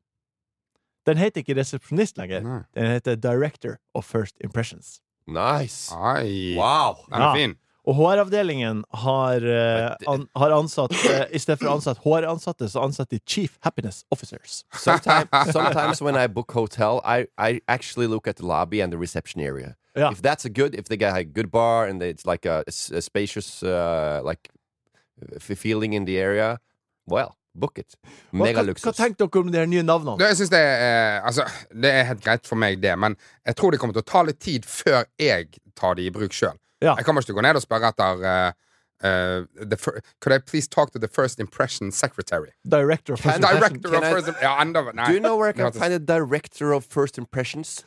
Den heter ikke resepsjonist lenger. Nei. Den heter Director of First Impressions. Ah, Nice! Ai, Wow! den Ja. er fin. Og HR-avdelingen har, eh, Men det- an, har ansatt eh, I stedet for å ansette HR-ansatte, så ansetter de Chief Happiness Officers. Sometimes, sometimes when I book hotel, I, I actually look at the lobby and the reception area. Ja. If that's a good, if they got a good bar and it's like a, s- a spacious, uh, like f- feeling in the area, well, book it. Hva, hva, Megaluksus. hva tenker dere om de her nye Du, navnene? jeg synes det, er, altså, det er helt greit for meg, det, men jeg tror det kommer til å ta litt tid før jeg tar de i bruk sjøl. Ja. Jeg kommer ikke til å gå ned og spørre etter eh, eh, the fir Could I please talk to the first impression secretary? Director of First Can I- Impressions. Director Can of I- first ja, enda, nei. Do you know where I can Hørtes- find a director of first impressions?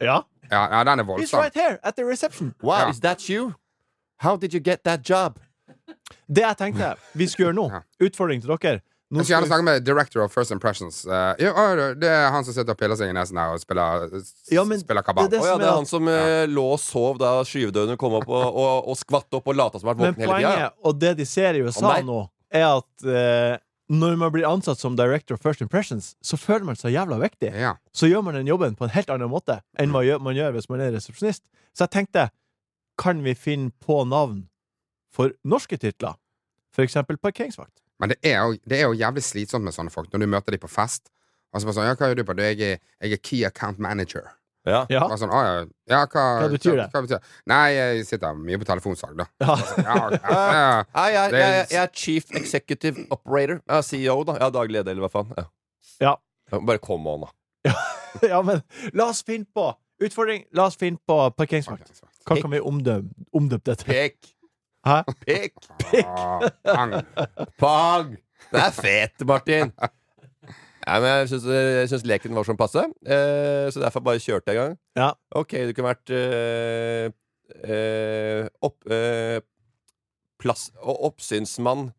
Ja. ja, ja, den er He's voldsom. right here at the reception. Wow, Ja. is that you? How did you get that job? Det jeg tenkte vi skulle gjøre nå, utfordring til dere nå Jeg skal gjerne skal vi, snakke med director of first impressions. Eh, ja, å, det er han som sitter og piller seg i nesen her og spiller, Ja, men spiller kabal. det er Å det ja, som det er er han som eh, lå og sov da skyvedødene kom opp og, og, og skvatt opp og lata som han var Men våken hele tida. poenget, og det de ser i USA Å, nei. nå, er at eh, når man blir ansatt som Director of First Impressions, så føler man seg jævla viktig. Ja. så gjør man den jobben på en helt annen måte enn man gjør, man gjør hvis man er resepsjonist. Så jeg tenkte, kan vi finne på navn for norske titler? For eksempel parkeringsvakt. Men det er, jo, det er jo jævlig slitsomt med sånne folk når du møter dem på fest. Og så bare sånn, ja, hva gjør du på? Du, jeg, er- jeg er key account manager. Ja. Ja. Bare sånn, «Å, ja, ja, hva, Hva betyr det? hva betyr det? Nei, jeg sitter mye på telefonsalg, da. Ja. altså, Ja, ja, ja. Nei, jeg, Det er- jeg, jeg er chief executive operator. Ja, CEO, da. Ja, daglig leder, eller hva faen. Ja. Ja. Ja, Bare kom on, da. ja, men la oss finne på Utfordring, la oss finne på parkeringsvakt. Parkeringsvakt. Hva kan vi omdømme omdøpe dette til? Pek, Hæ? pek, Ah, bang. pang! Det er fet, Martin! Nei, men jeg syns, jeg syns leken var sånn passe, eh, så derfor bare kjørte jeg i gang. Ja. Ok, du kunne vært eh, eh, opp, eh, plass, og oppsynsmann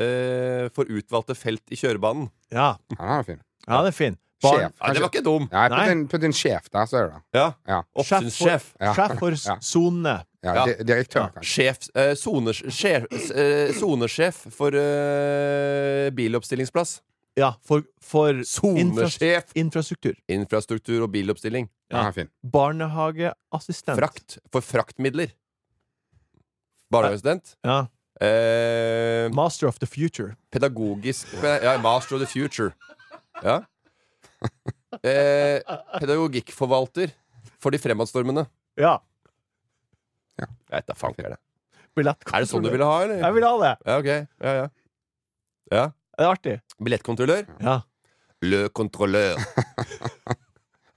eh, for utvalgte felt i kjørebanen. ja. Ja, den er fin. Ja, det er fin. Sjef. Nei, det var ikke dum. Nei, putt Nei. inn, putt inn sjef der, så er det det. Ja. Ja. Oppsynssjef. Ja. Sjef for Ja. sone. Ja, Ja. di- Direktør, kanskje. Sjef, eh, soners- sjef, eh, sonesjef for eh, biloppstillingsplass. Ja, for, for Sonesjef. infras- infrastruktur. Infrastruktur og biloppstilling. Ja, Ja. fin. Barnehageassistent. Frakt. For fraktmidler. Barnehageassistent. Ja. Eh, Master of the future. pedagogisk Ja, Master of the Future. Ja. Eh, pedagogikkforvalter for de fremadstormende. Ja. Jeg vet da faen hva er det Er det sånn Billettkontrollør. du ville ha, eller? Jeg vil ha det. Ja, ok. Ja, ja. ja. Det er artig. Billettkontrollør? Ja. Le contrôleur.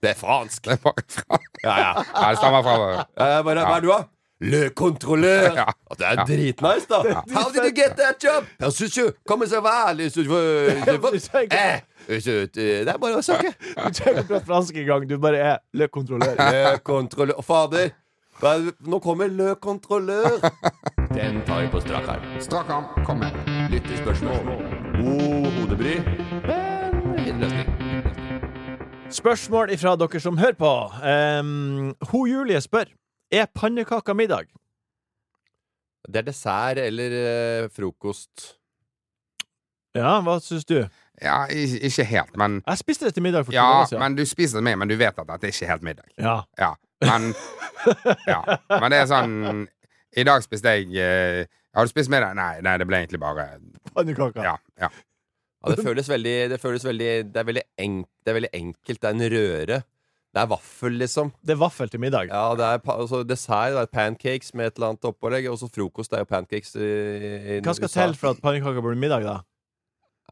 Det er fransk. Det er bare fra Ja, ja. Ja, det stammer fra Eh, Hva er hva er du, da? Le contrôleur. Ja. Å, Det er dritnice, da. How did you get that job? Jeg synes jo Comment ça va? Les- Eh, Det er bare å snakke. Du trenger ikke prate fransk engang. Du bare er le controlør. Le kontrollør Fader! hva er det- Nå kommer Le kontrollør! Den tar vi på strak arm. Strak arm, kom med. Lyttespørsmål. God hodebry. Men fin løsning. Spørsmål ifra dere som hører på. Um, Ho Julie spør Er pannekaker middag. Det er dessert eller eh, frokost. Ja, hva syns du? Ja, i- ikke helt, men Jeg spiste det til middag for to Ja, dager siden. men du spiser det med, men du vet at dette er ikke helt middag. Ja. Ja, men Ja, men det er sånn I dag spiste jeg eh, Har du spist middag? Nei, nei, det ble egentlig bare Pannekaker. Ja. ja. Ja, det føles veldig Det føles veldig Det er veldig, enk, det er veldig enkelt. Det er en røre. Det er vaffel, liksom. Det er vaffel til middag. Ja, det er pa altså, dessert. Det er pancakes med et eller annet opplegg. Og så frokost. Det er jo pancakes i, i Hva skal USA. til for at pannekaker blir middag, da?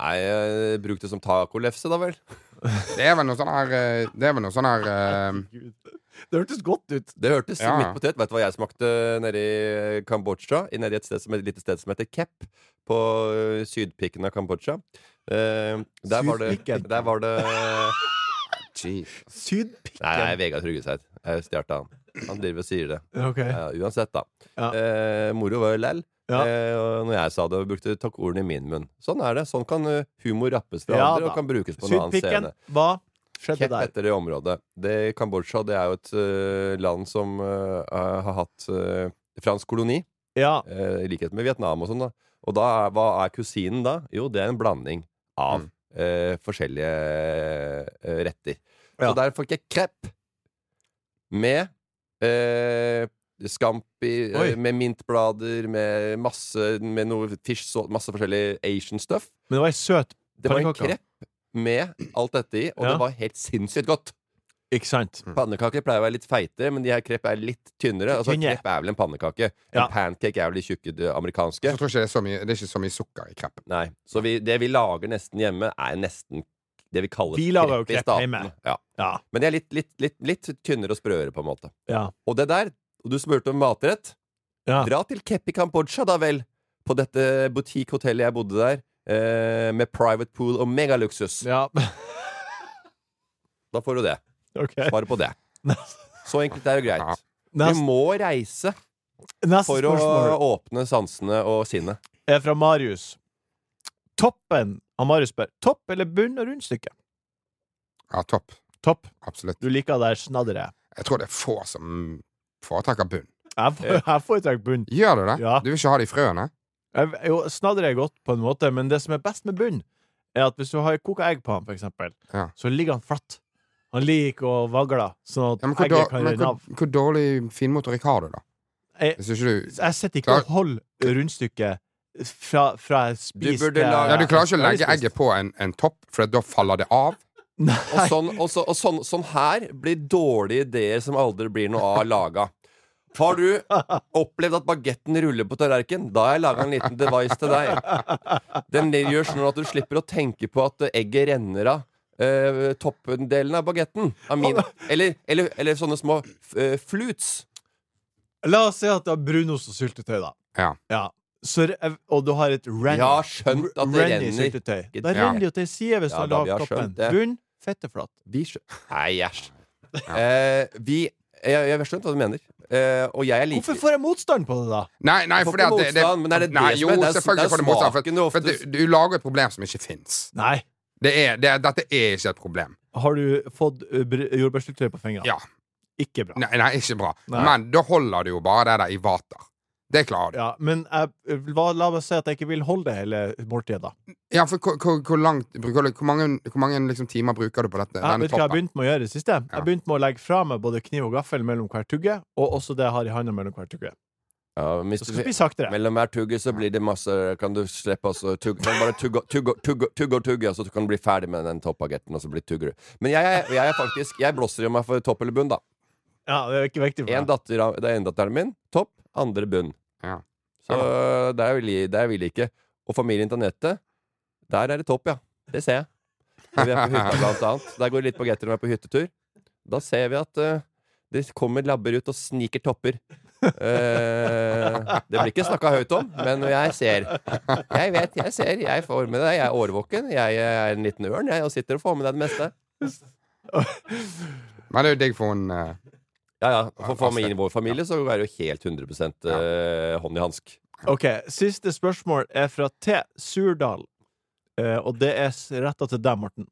Nei, eh, bruk det som tacolefse, da vel. Det er vel noe sånn her eh, Det er vel noe sånn her eh, Det hørtes godt ut. Det hørtes Ja, ja. midt på tøyt. Vet du hva jeg smakte nede i Kambodsja? I- Nede i et, sted som, et lite sted som heter Kep, på ø, sydpikken av Kambodsja. Eh, der, var det, Sydpikken? der var det Sydpikken. Nei, nei Vegard Tryggeseid. Jeg stjal han. Han driver og sier det. Ok. Ja, uansett, da. Ja. Eh, moro var jo læll. Ja. Eh, og når jeg sa det, brukte jeg tok ordene i min munn. Sånn er det. Sånn kan ø, humor rappes fra Ja, andre da. og kan brukes på en annen Sydpikken. scene. Hva skjedde Kep der? etter det området. Det, Kambodsja det er jo et ø, land som ø, har hatt ø, fransk koloni. Ja. eh, i likhet med Vietnam og sånn, da. Og da, er- hva er kusinen da? Jo, det er en blanding Mm. av eh, forskjellige eh, retter. Ja. Så der fikk jeg krepp med eh, Scampi, eh, Oi. med mintblader, med masse Med noe fish salt, masse forskjellig Asian stuff. Men det var ei søt Det var en Pannekaka. krepp med alt dette i, og Ja. det var helt sinnssykt godt. Ikke sant? Pannekaker pleier å være litt feitere, men de her krepp er litt tynnere. Altså, Tynne. krepp er vel en pannekake. Ja. En pancake er vel de tjukke det amerikanske. Så tror jeg ikke det er så mye Det er ikke så mye sukker i kreppen. Nei. Så vi, det vi lager nesten hjemme, er nesten det vi kaller Vi lager jo krepp i krepp staten. hjemme. Ja. Ja. Men det er litt, litt, litt, litt tynnere og sprøere, på en måte. Ja. Og det der, og du spurte om matrett. Ja. Dra til Kepp i Kambodsja, da vel. På dette boutique-hotellet jeg bodde der. Eh, med private pool og megaluksus. ja. Da får du det. OK. Svaret på det. Så enkelt er det Ja. greit. Vi Neste, må reise neste for å spørsmål åpne sansene og sinnet. er fra Marius. Toppen av Marius spør Topp eller bunn og rundstykke? Ja, topp. Topp. Absolutt. Du liker det der snadderet. Jeg tror det er få som foretrekker bunn. Jeg får- jeg foretrekker bunn. Gjør du det? Ja. Du vil ikke ha de frøene? Jeg, jo, snadder er godt på en måte, men det som er best med bunn, er at hvis du har koka egg på han, for eksempel, Ja. så ligger han flatt. Han ligger og vagler, sånn at Ja, men hvor, egget dår- kan men renne hvor, av. hvor dårlig finmotorikk har du, da? Jeg- Hvis ikke du Jeg sitter ikke og holder rundstykket fra, fra jeg Du spiser burde lage- Ja, du klarer ikke å jeg har legge spist. egget på en, en topp, for da faller det av. Og, sånn, og, så, og sånn, sånn her blir dårlige ideer som aldri blir noe av laga. Har du opplevd at bagetten ruller på tallerkenen? Da har jeg laga en liten device til deg. Den gjør sånn at du slipper å tenke på at egget renner av. eh, toppdelen av bagetten. Av min. Eller, eller, eller sånne små uh, flutes. La oss si at du har brunost og syltetøy, da. Ja. Så, re- og du har et renn Jeg har skjønt at det renn i renner. syltetøy. Ikke- Da Ja. renner det jo til side hvis Ja, du da, har vi har lagt toppen. skjønt det. Bunn, fetteflat. Vi skjø... Nei, æsj. Eh, vi jeg, jeg har skjønt hva du mener. Eh, og jeg er like Hvorfor får jeg motstand på det, da? Nei, nei, får ikke fordi at det, det, motstand, men er det det nei, som jo, er- det er- det er selvfølgelig får du motstand. smaken du For, for oftest- du, du lager et problem som ikke fins. Nei. Det er, det, er- dette er ikke et problem. Har du fått eh, br- jordbærsyltetøy på fingeren? Ja. Ikke bra. Nei, nei, ikke bra. Nei. Men da holder du jo bare det der i vater. Det klarer du. Ja, men jeg, eh, hva- la meg si at jeg ikke vil holde det hele måltidet, da. Ja, for hvor, hvor, hvor langt bruker du Hvor mange, hvor mange liksom, timer bruker du på dette? Jeg denne vet du hva jeg toppen? begynte med å gjøre i det siste? Ja. Jeg begynte med å legge fra meg både kniv og gaffel mellom hver tugge, og også det jeg har i handa mellom hver tugge. Ja, hvis Så du- skal vi spise saktere. Mellom hver tugge så blir det masse Kan du slippe oss å tugge kan Bare tugge og tugge, og- tugge, og- tugge og tugge, og så kan du bli ferdig med den toppagetten, og så blir tugger du. Men jeg, er- jeg er faktisk Jeg blåser jo meg for topp eller bunn, da. Ja, det er ikke viktig for meg. En datter, av- det er en datteren min. Topp, andre bunn. Ja. Så der vil, jeg- der vil jeg ikke. Og familien til Anette, der er det topp, ja. Det ser jeg. Når vi er på hytta, blant annet. Der går det litt på getter når vi er på hyttetur. Da ser vi at eh, det kommer labber ut og sniker topper. Eh, det blir ikke snakka høyt om, men jeg ser. Jeg vet, jeg ser. Jeg får med det. Jeg er årvåken. Jeg er en liten ørn jeg, og sitter og får med deg det meste. Men det er jo digg for hun eh, Ja, ja. For familien, vår familie så er det jo helt 100 eh, hånd i hansk. Ok, Siste spørsmål er fra T. Surdal, eh, og det er s- retta til deg, Morten.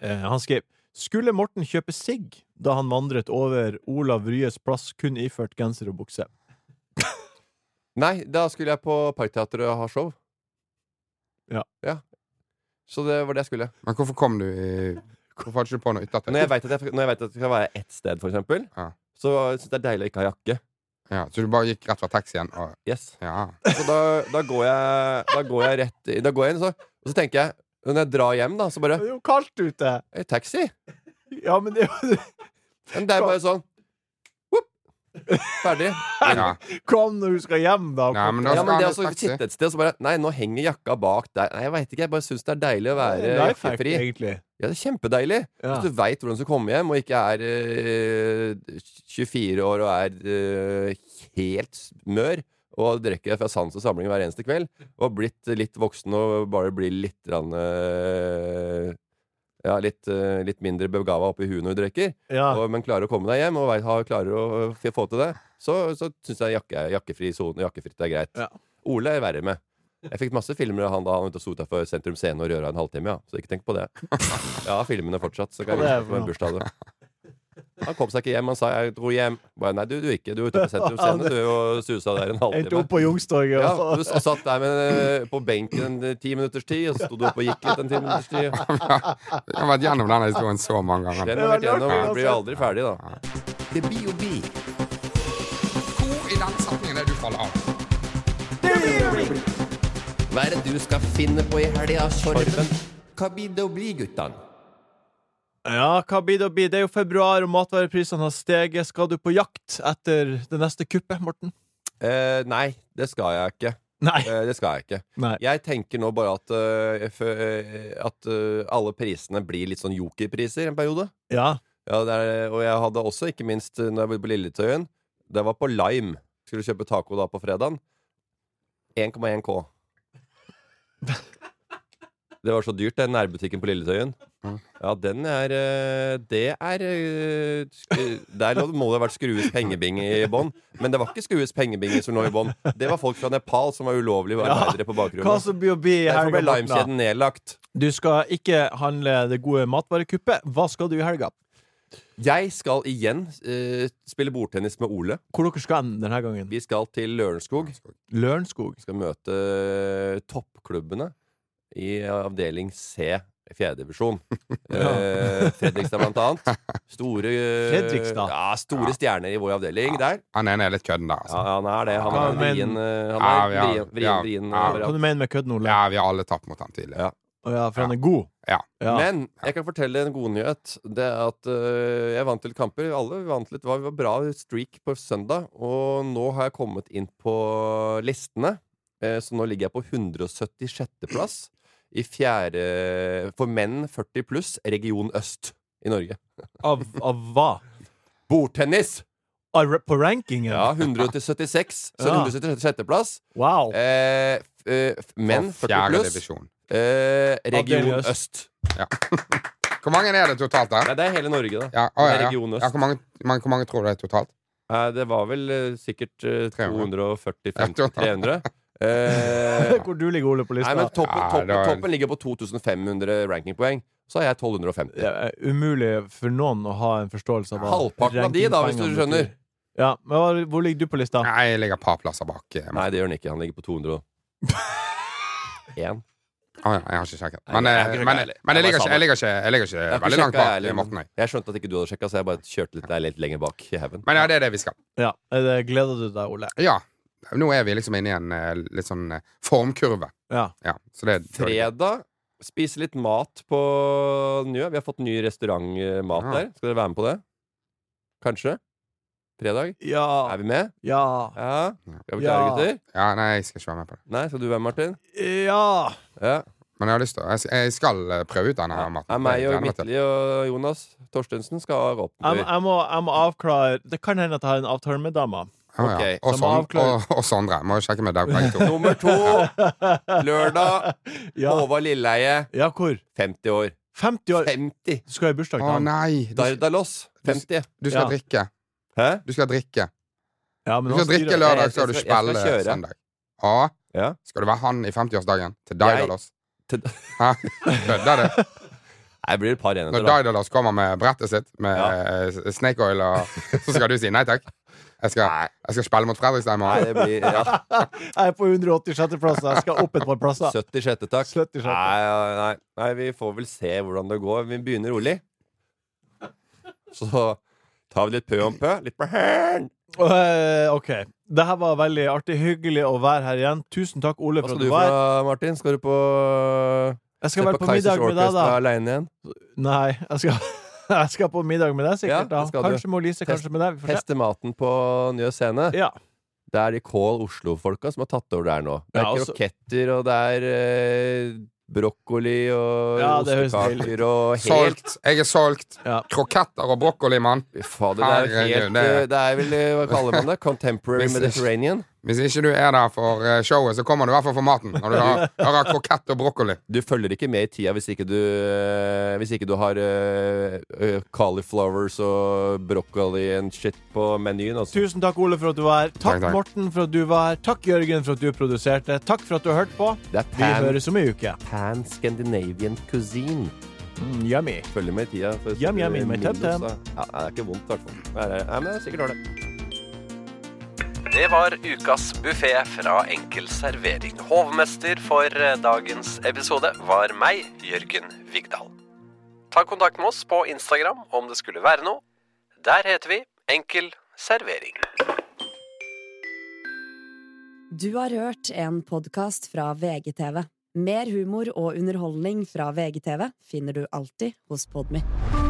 Eh, han skrev Skulle Morten kjøpe sigg da han vandret over Olav Ryes plass kun iført genser og bukse? Nei, da skulle jeg på Parkteatret og ha show. Ja. Så det var det jeg skulle. Men hvorfor kom du i Hvorfor hadde du ikke på noe yttertøy? Når jeg veit at, jeg- når jeg vet at det skal være ett sted, for eksempel, Ja. så syns jeg det er deilig å ikke ha jakke. Ja, så du bare gikk rett fra taxien og Yes. Ja. Så da, da går jeg Da går jeg rett i- Da går jeg inn, så, og så tenker jeg Når jeg drar hjem, da, så bare Det er jo kaldt ute! «Hey, Taxi! Ja, men det er jo Men det er bare sånn whoop, Ferdig. ja. Kom når du skal hjem, da. Nei, men da Ja, skal men det han å i taxi. sitte et sted og så bare Nei, nå henger jakka bak der. Nei, jeg veit ikke. Jeg bare syns det er deilig å være Life hack, jakkefri. egentlig. Ja, det er kjempedeilig. Ja. Hvis du veit hvordan du skal komme hjem, og ikke er eh, 24 år og er eh, helt mør, og drikker fra sans og samling hver eneste kveld, og har blitt litt voksen og bare blir litt grann, eh, ja, litt, eh, litt mindre begava oppi huet når du drikker, Ja. og, men klarer å komme deg hjem og vei- har, klarer å f- få til det, så, så syns jeg jakke, jakkefri sone jakkefritt er greit. Ja. Ole er verre med. Jeg fikk masse filmer av han da han var ute og sto utafor Sentrum Scene og røra en halvtime, ja. så ikke tenk på det. Jeg har filmene fortsatt, så kan jeg Ja, det er vise deg på en bra. bursdag. da. Han kom seg ikke hjem. Han sa 'jeg dro hjem'. Bare, Nei, du dro ikke. Du var ute på Sentrum Scene, du, og susa der en Endte opp halvtime. på Youngstorget. Ja, og- du s- satt der med, eh, på benken en ti minutters tid, og så sto du opp og gikk litt en ti minutters tid. Jeg har vært gjennom denne historien så mange ganger. Den var har vært lurt, gjennom. Du blir jo altså. aldri ferdig, da. Det blir jo bi. Hvor i den setningen er det du faller av? Hva er det du skal finne på i helga, Sorben? Hva blir det å bli, guttan? Ja, hva blir det å bli? Det er jo februar, og matvareprisene har steget. Skal du på jakt etter det neste kuppet, Morten? Eh, nei, det skal jeg ikke. Nei. Eh, det skal jeg ikke. Nei. Jeg tenker nå bare at, eh, fø- eh, at eh, alle prisene blir litt sånn jokerpriser en periode. Ja. Ja, det er, og jeg hadde også, ikke minst eh, når jeg bodde på Lilletøyen, det var på Lime. Skulle kjøpe taco da på fredagen. 1,1 K. Det var så dyrt, den nærbutikken på Lilletøyen. Mm. Ja, den er eh, Det er eh, sk- Der lå- må det ha vært skrues pengebinge i bånn. Men det var ikke skrues pengebinger som lå i bånn. Det var folk fra Nepal som var ulovlige arbeidere på Hva bakrommet. som blir å bli i Derfor helga, ble Morten? da? limekjeden nedlagt. Du skal ikke handle det gode matvarekuppet. Hva skal du i helga? Jeg skal igjen eh, spille bordtennis med Ole. Hvor dere skal ende denne gangen? Vi skal til Lørenskog. Lørenskog. skal møte eh, toppklubbene i avdeling C, fjerdedivisjon. eh, Fredrikstad, blant annet. Store, eh, Fredrikstad? Ja, store stjerner i vår avdeling der. Han ene er litt kødden der, Ja, altså. han er det. Han Ja, er men- vrien, eh, Ja, han vi er har- vrien, vi har- vrien, vrien ja. overalt. Hva du mener med kødden, Ole? Ja, vi har alle tapt mot han tidligere. Ja. Å ja, for han er god? Ja. Ja. Men jeg kan fortelle en godnyhet. Det er at øh, jeg vant litt kamper. Alle vant litt. Det var bra streak på søndag. Og nå har jeg kommet inn på listene. Eh, Så nå ligger jeg på 176.-plass i fjerde For menn 40 pluss, region øst i Norge. Av, av hva? Bordtennis! Av, ra- på rankingen? Ja, 176. Så Ja. 176.-plass. Wow. Eh, f- eh, f- menn Fra 40 fjerde pluss, divisjon. eh, region Avdeling øst. øst. Hvor mange er det totalt der? Nei, det er hele Norge, da. Ja, å, ja, ja. Region øst. ja hvor, mange, mange, hvor mange tror du det er totalt? Nei, det var vel eh, sikkert eh, 300. 240-300. Eh, Hvor du ligger, Ole, på nei, lista? men toppen, Ja, toppen, det var- toppen ligger på 2500 rankingpoeng. så har jeg 1250. Det er umulig for noen å ha en forståelse av hva Halvparten av de, da, hvis du rankingpoengene skjønner. betyr. Ja, men hva- Hvor ligger du på lista? Nei, jeg ligger et par plasser bak. eh, Nei, det gjør han ikke. Han ligger på 200 og Én. Ah, ja, jeg har ikke sjekket. Nei, Men, jeg eh, har ikke sjekket men, heller. men jeg, Jeg bare ligger ikke, sa jeg ligger ikke, jeg ligger ikke veldig langt bak. eh, Morten, jeg. Jeg skjønte at ikke du hadde sjekka, så jeg bare kjørte litt deg litt lenger bak i haugen. Men ja, det er det vi skal. Ja, det Gleder du deg, Ole? Ja. Nå er vi liksom inne i en eh, litt sånn eh, formkurve. Ja. Ja, så det Fredag spise litt mat på Njø. Vi har fått ny restaurantmat Ja. der. Skal dere være med på det? Kanskje? Fredag? Ja. Ah. Er vi med? Ja. Ja. Er vi klare, Ja. gutter? Ja, nei, jeg skal ikke være med på det. Nei, skal du være med, Martin? ja. Ja. Men jeg har lyst til å- Jeg, skal- jeg skal eh, prøve ut denne her maten. Er meg og Jeg gleder meg til det. Midtli og Jonas Torstensen skal opp Jeg, tur. jeg, må, jeg må avklare Det kan hende at jeg har en avtale med dama. Ja, ja. Ok, Og, så må Son- avklare- og, og Sondre. Må jo sjekke med deg begge to. Nummer to, lørdag. Ja. Håvard Lilleheie, Ja, hvor? 50 år. 50 år. 50! Du skal i bursdag Å til han. nei! Du, Dardalos, 50. du skal Ja. drikke. Hæ? Du skal drikke Ja, men Du han skal drikke styrer- Nei, lørdag, jeg så skal du skal- jeg skal spille kjøre. søndag. Ja. Ja. Skal du være han i 50-årsdagen til Jeg- Daidalos? til- Hæ? Kødder du? Nei, det blir et par enheter, Når da. Daidalos kommer med brettet sitt med Ja. eh, snake oil, og, så skal du si nei takk? Jeg skal, jeg skal spille mot Fredrikstad i Nei, morgen. det blir ja, Jeg er på 186. plass, så jeg skal opp et par plasser. 76. takk. 76. Nei, ja, nei, nei, vi får vel se hvordan det går. Vi begynner rolig. Så tar vi litt pø om pø. Litt på hæren. Eh, OK. Det her var veldig artig. Hyggelig å være her igjen. Tusen takk, Ole, Hva for skal at du du på, var her. Martin? Skal du på Jeg se skal være på middag Kaizers med deg, Orchestra da. alene igjen? Nei, jeg skal, jeg skal på middag med deg, Ja, sikkert. da det skal du. Kanskje med Lise, kanskje med deg. Vi får se. Teste maten på Njø scene. Ja. Det er de Kål Oslo-folka som har tatt over der nå. Det er Ja, altså- også- kroketter, og det er eh, brokkoli og Ja, det høres deilig ostekaker og helt Solgt! Jeg er solgt! Ja. Kroketter og brokkoli, mann! Fader, det er jo helt Herregud, det er- eh, Det er vel eh, Hva kaller man det? Contemporary Hvis- Mediterranean? Hvis ikke du er der for eh, showet, så kommer du i hvert fall for maten. Når du har, har krokett og brokkoli. Du følger ikke med i tida hvis ikke du, eh, hvis ikke du har eh, eh, cauliflowers og broccoli and shit på menyen. Altså. Tusen takk, Ole, for at du var her. Takk, Takk, takk. Morten, for at du var her. Takk, Jørgen, for at du produserte. Takk for at du har hørt på. Det er Vi pan, høres om ei uke. pan Scandinavian cuisine. Mm, yummy. Følger med i tida. for- Yum, yum, in my Minus, tum-tum. da. Ja, det er ikke vondt, i hvert fall. Nei, nei, nei, men det er sikkert ålreit. Det var ukas buffé fra Enkel servering. Hovmester for eh, dagens episode var meg, Jørgen Vigdal. Ta kontakt med oss på Instagram om det skulle være noe. Der heter vi Enkel servering. Du har hørt en podkast fra VGTV. Mer humor og underholdning fra VGTV finner du alltid hos Podmy.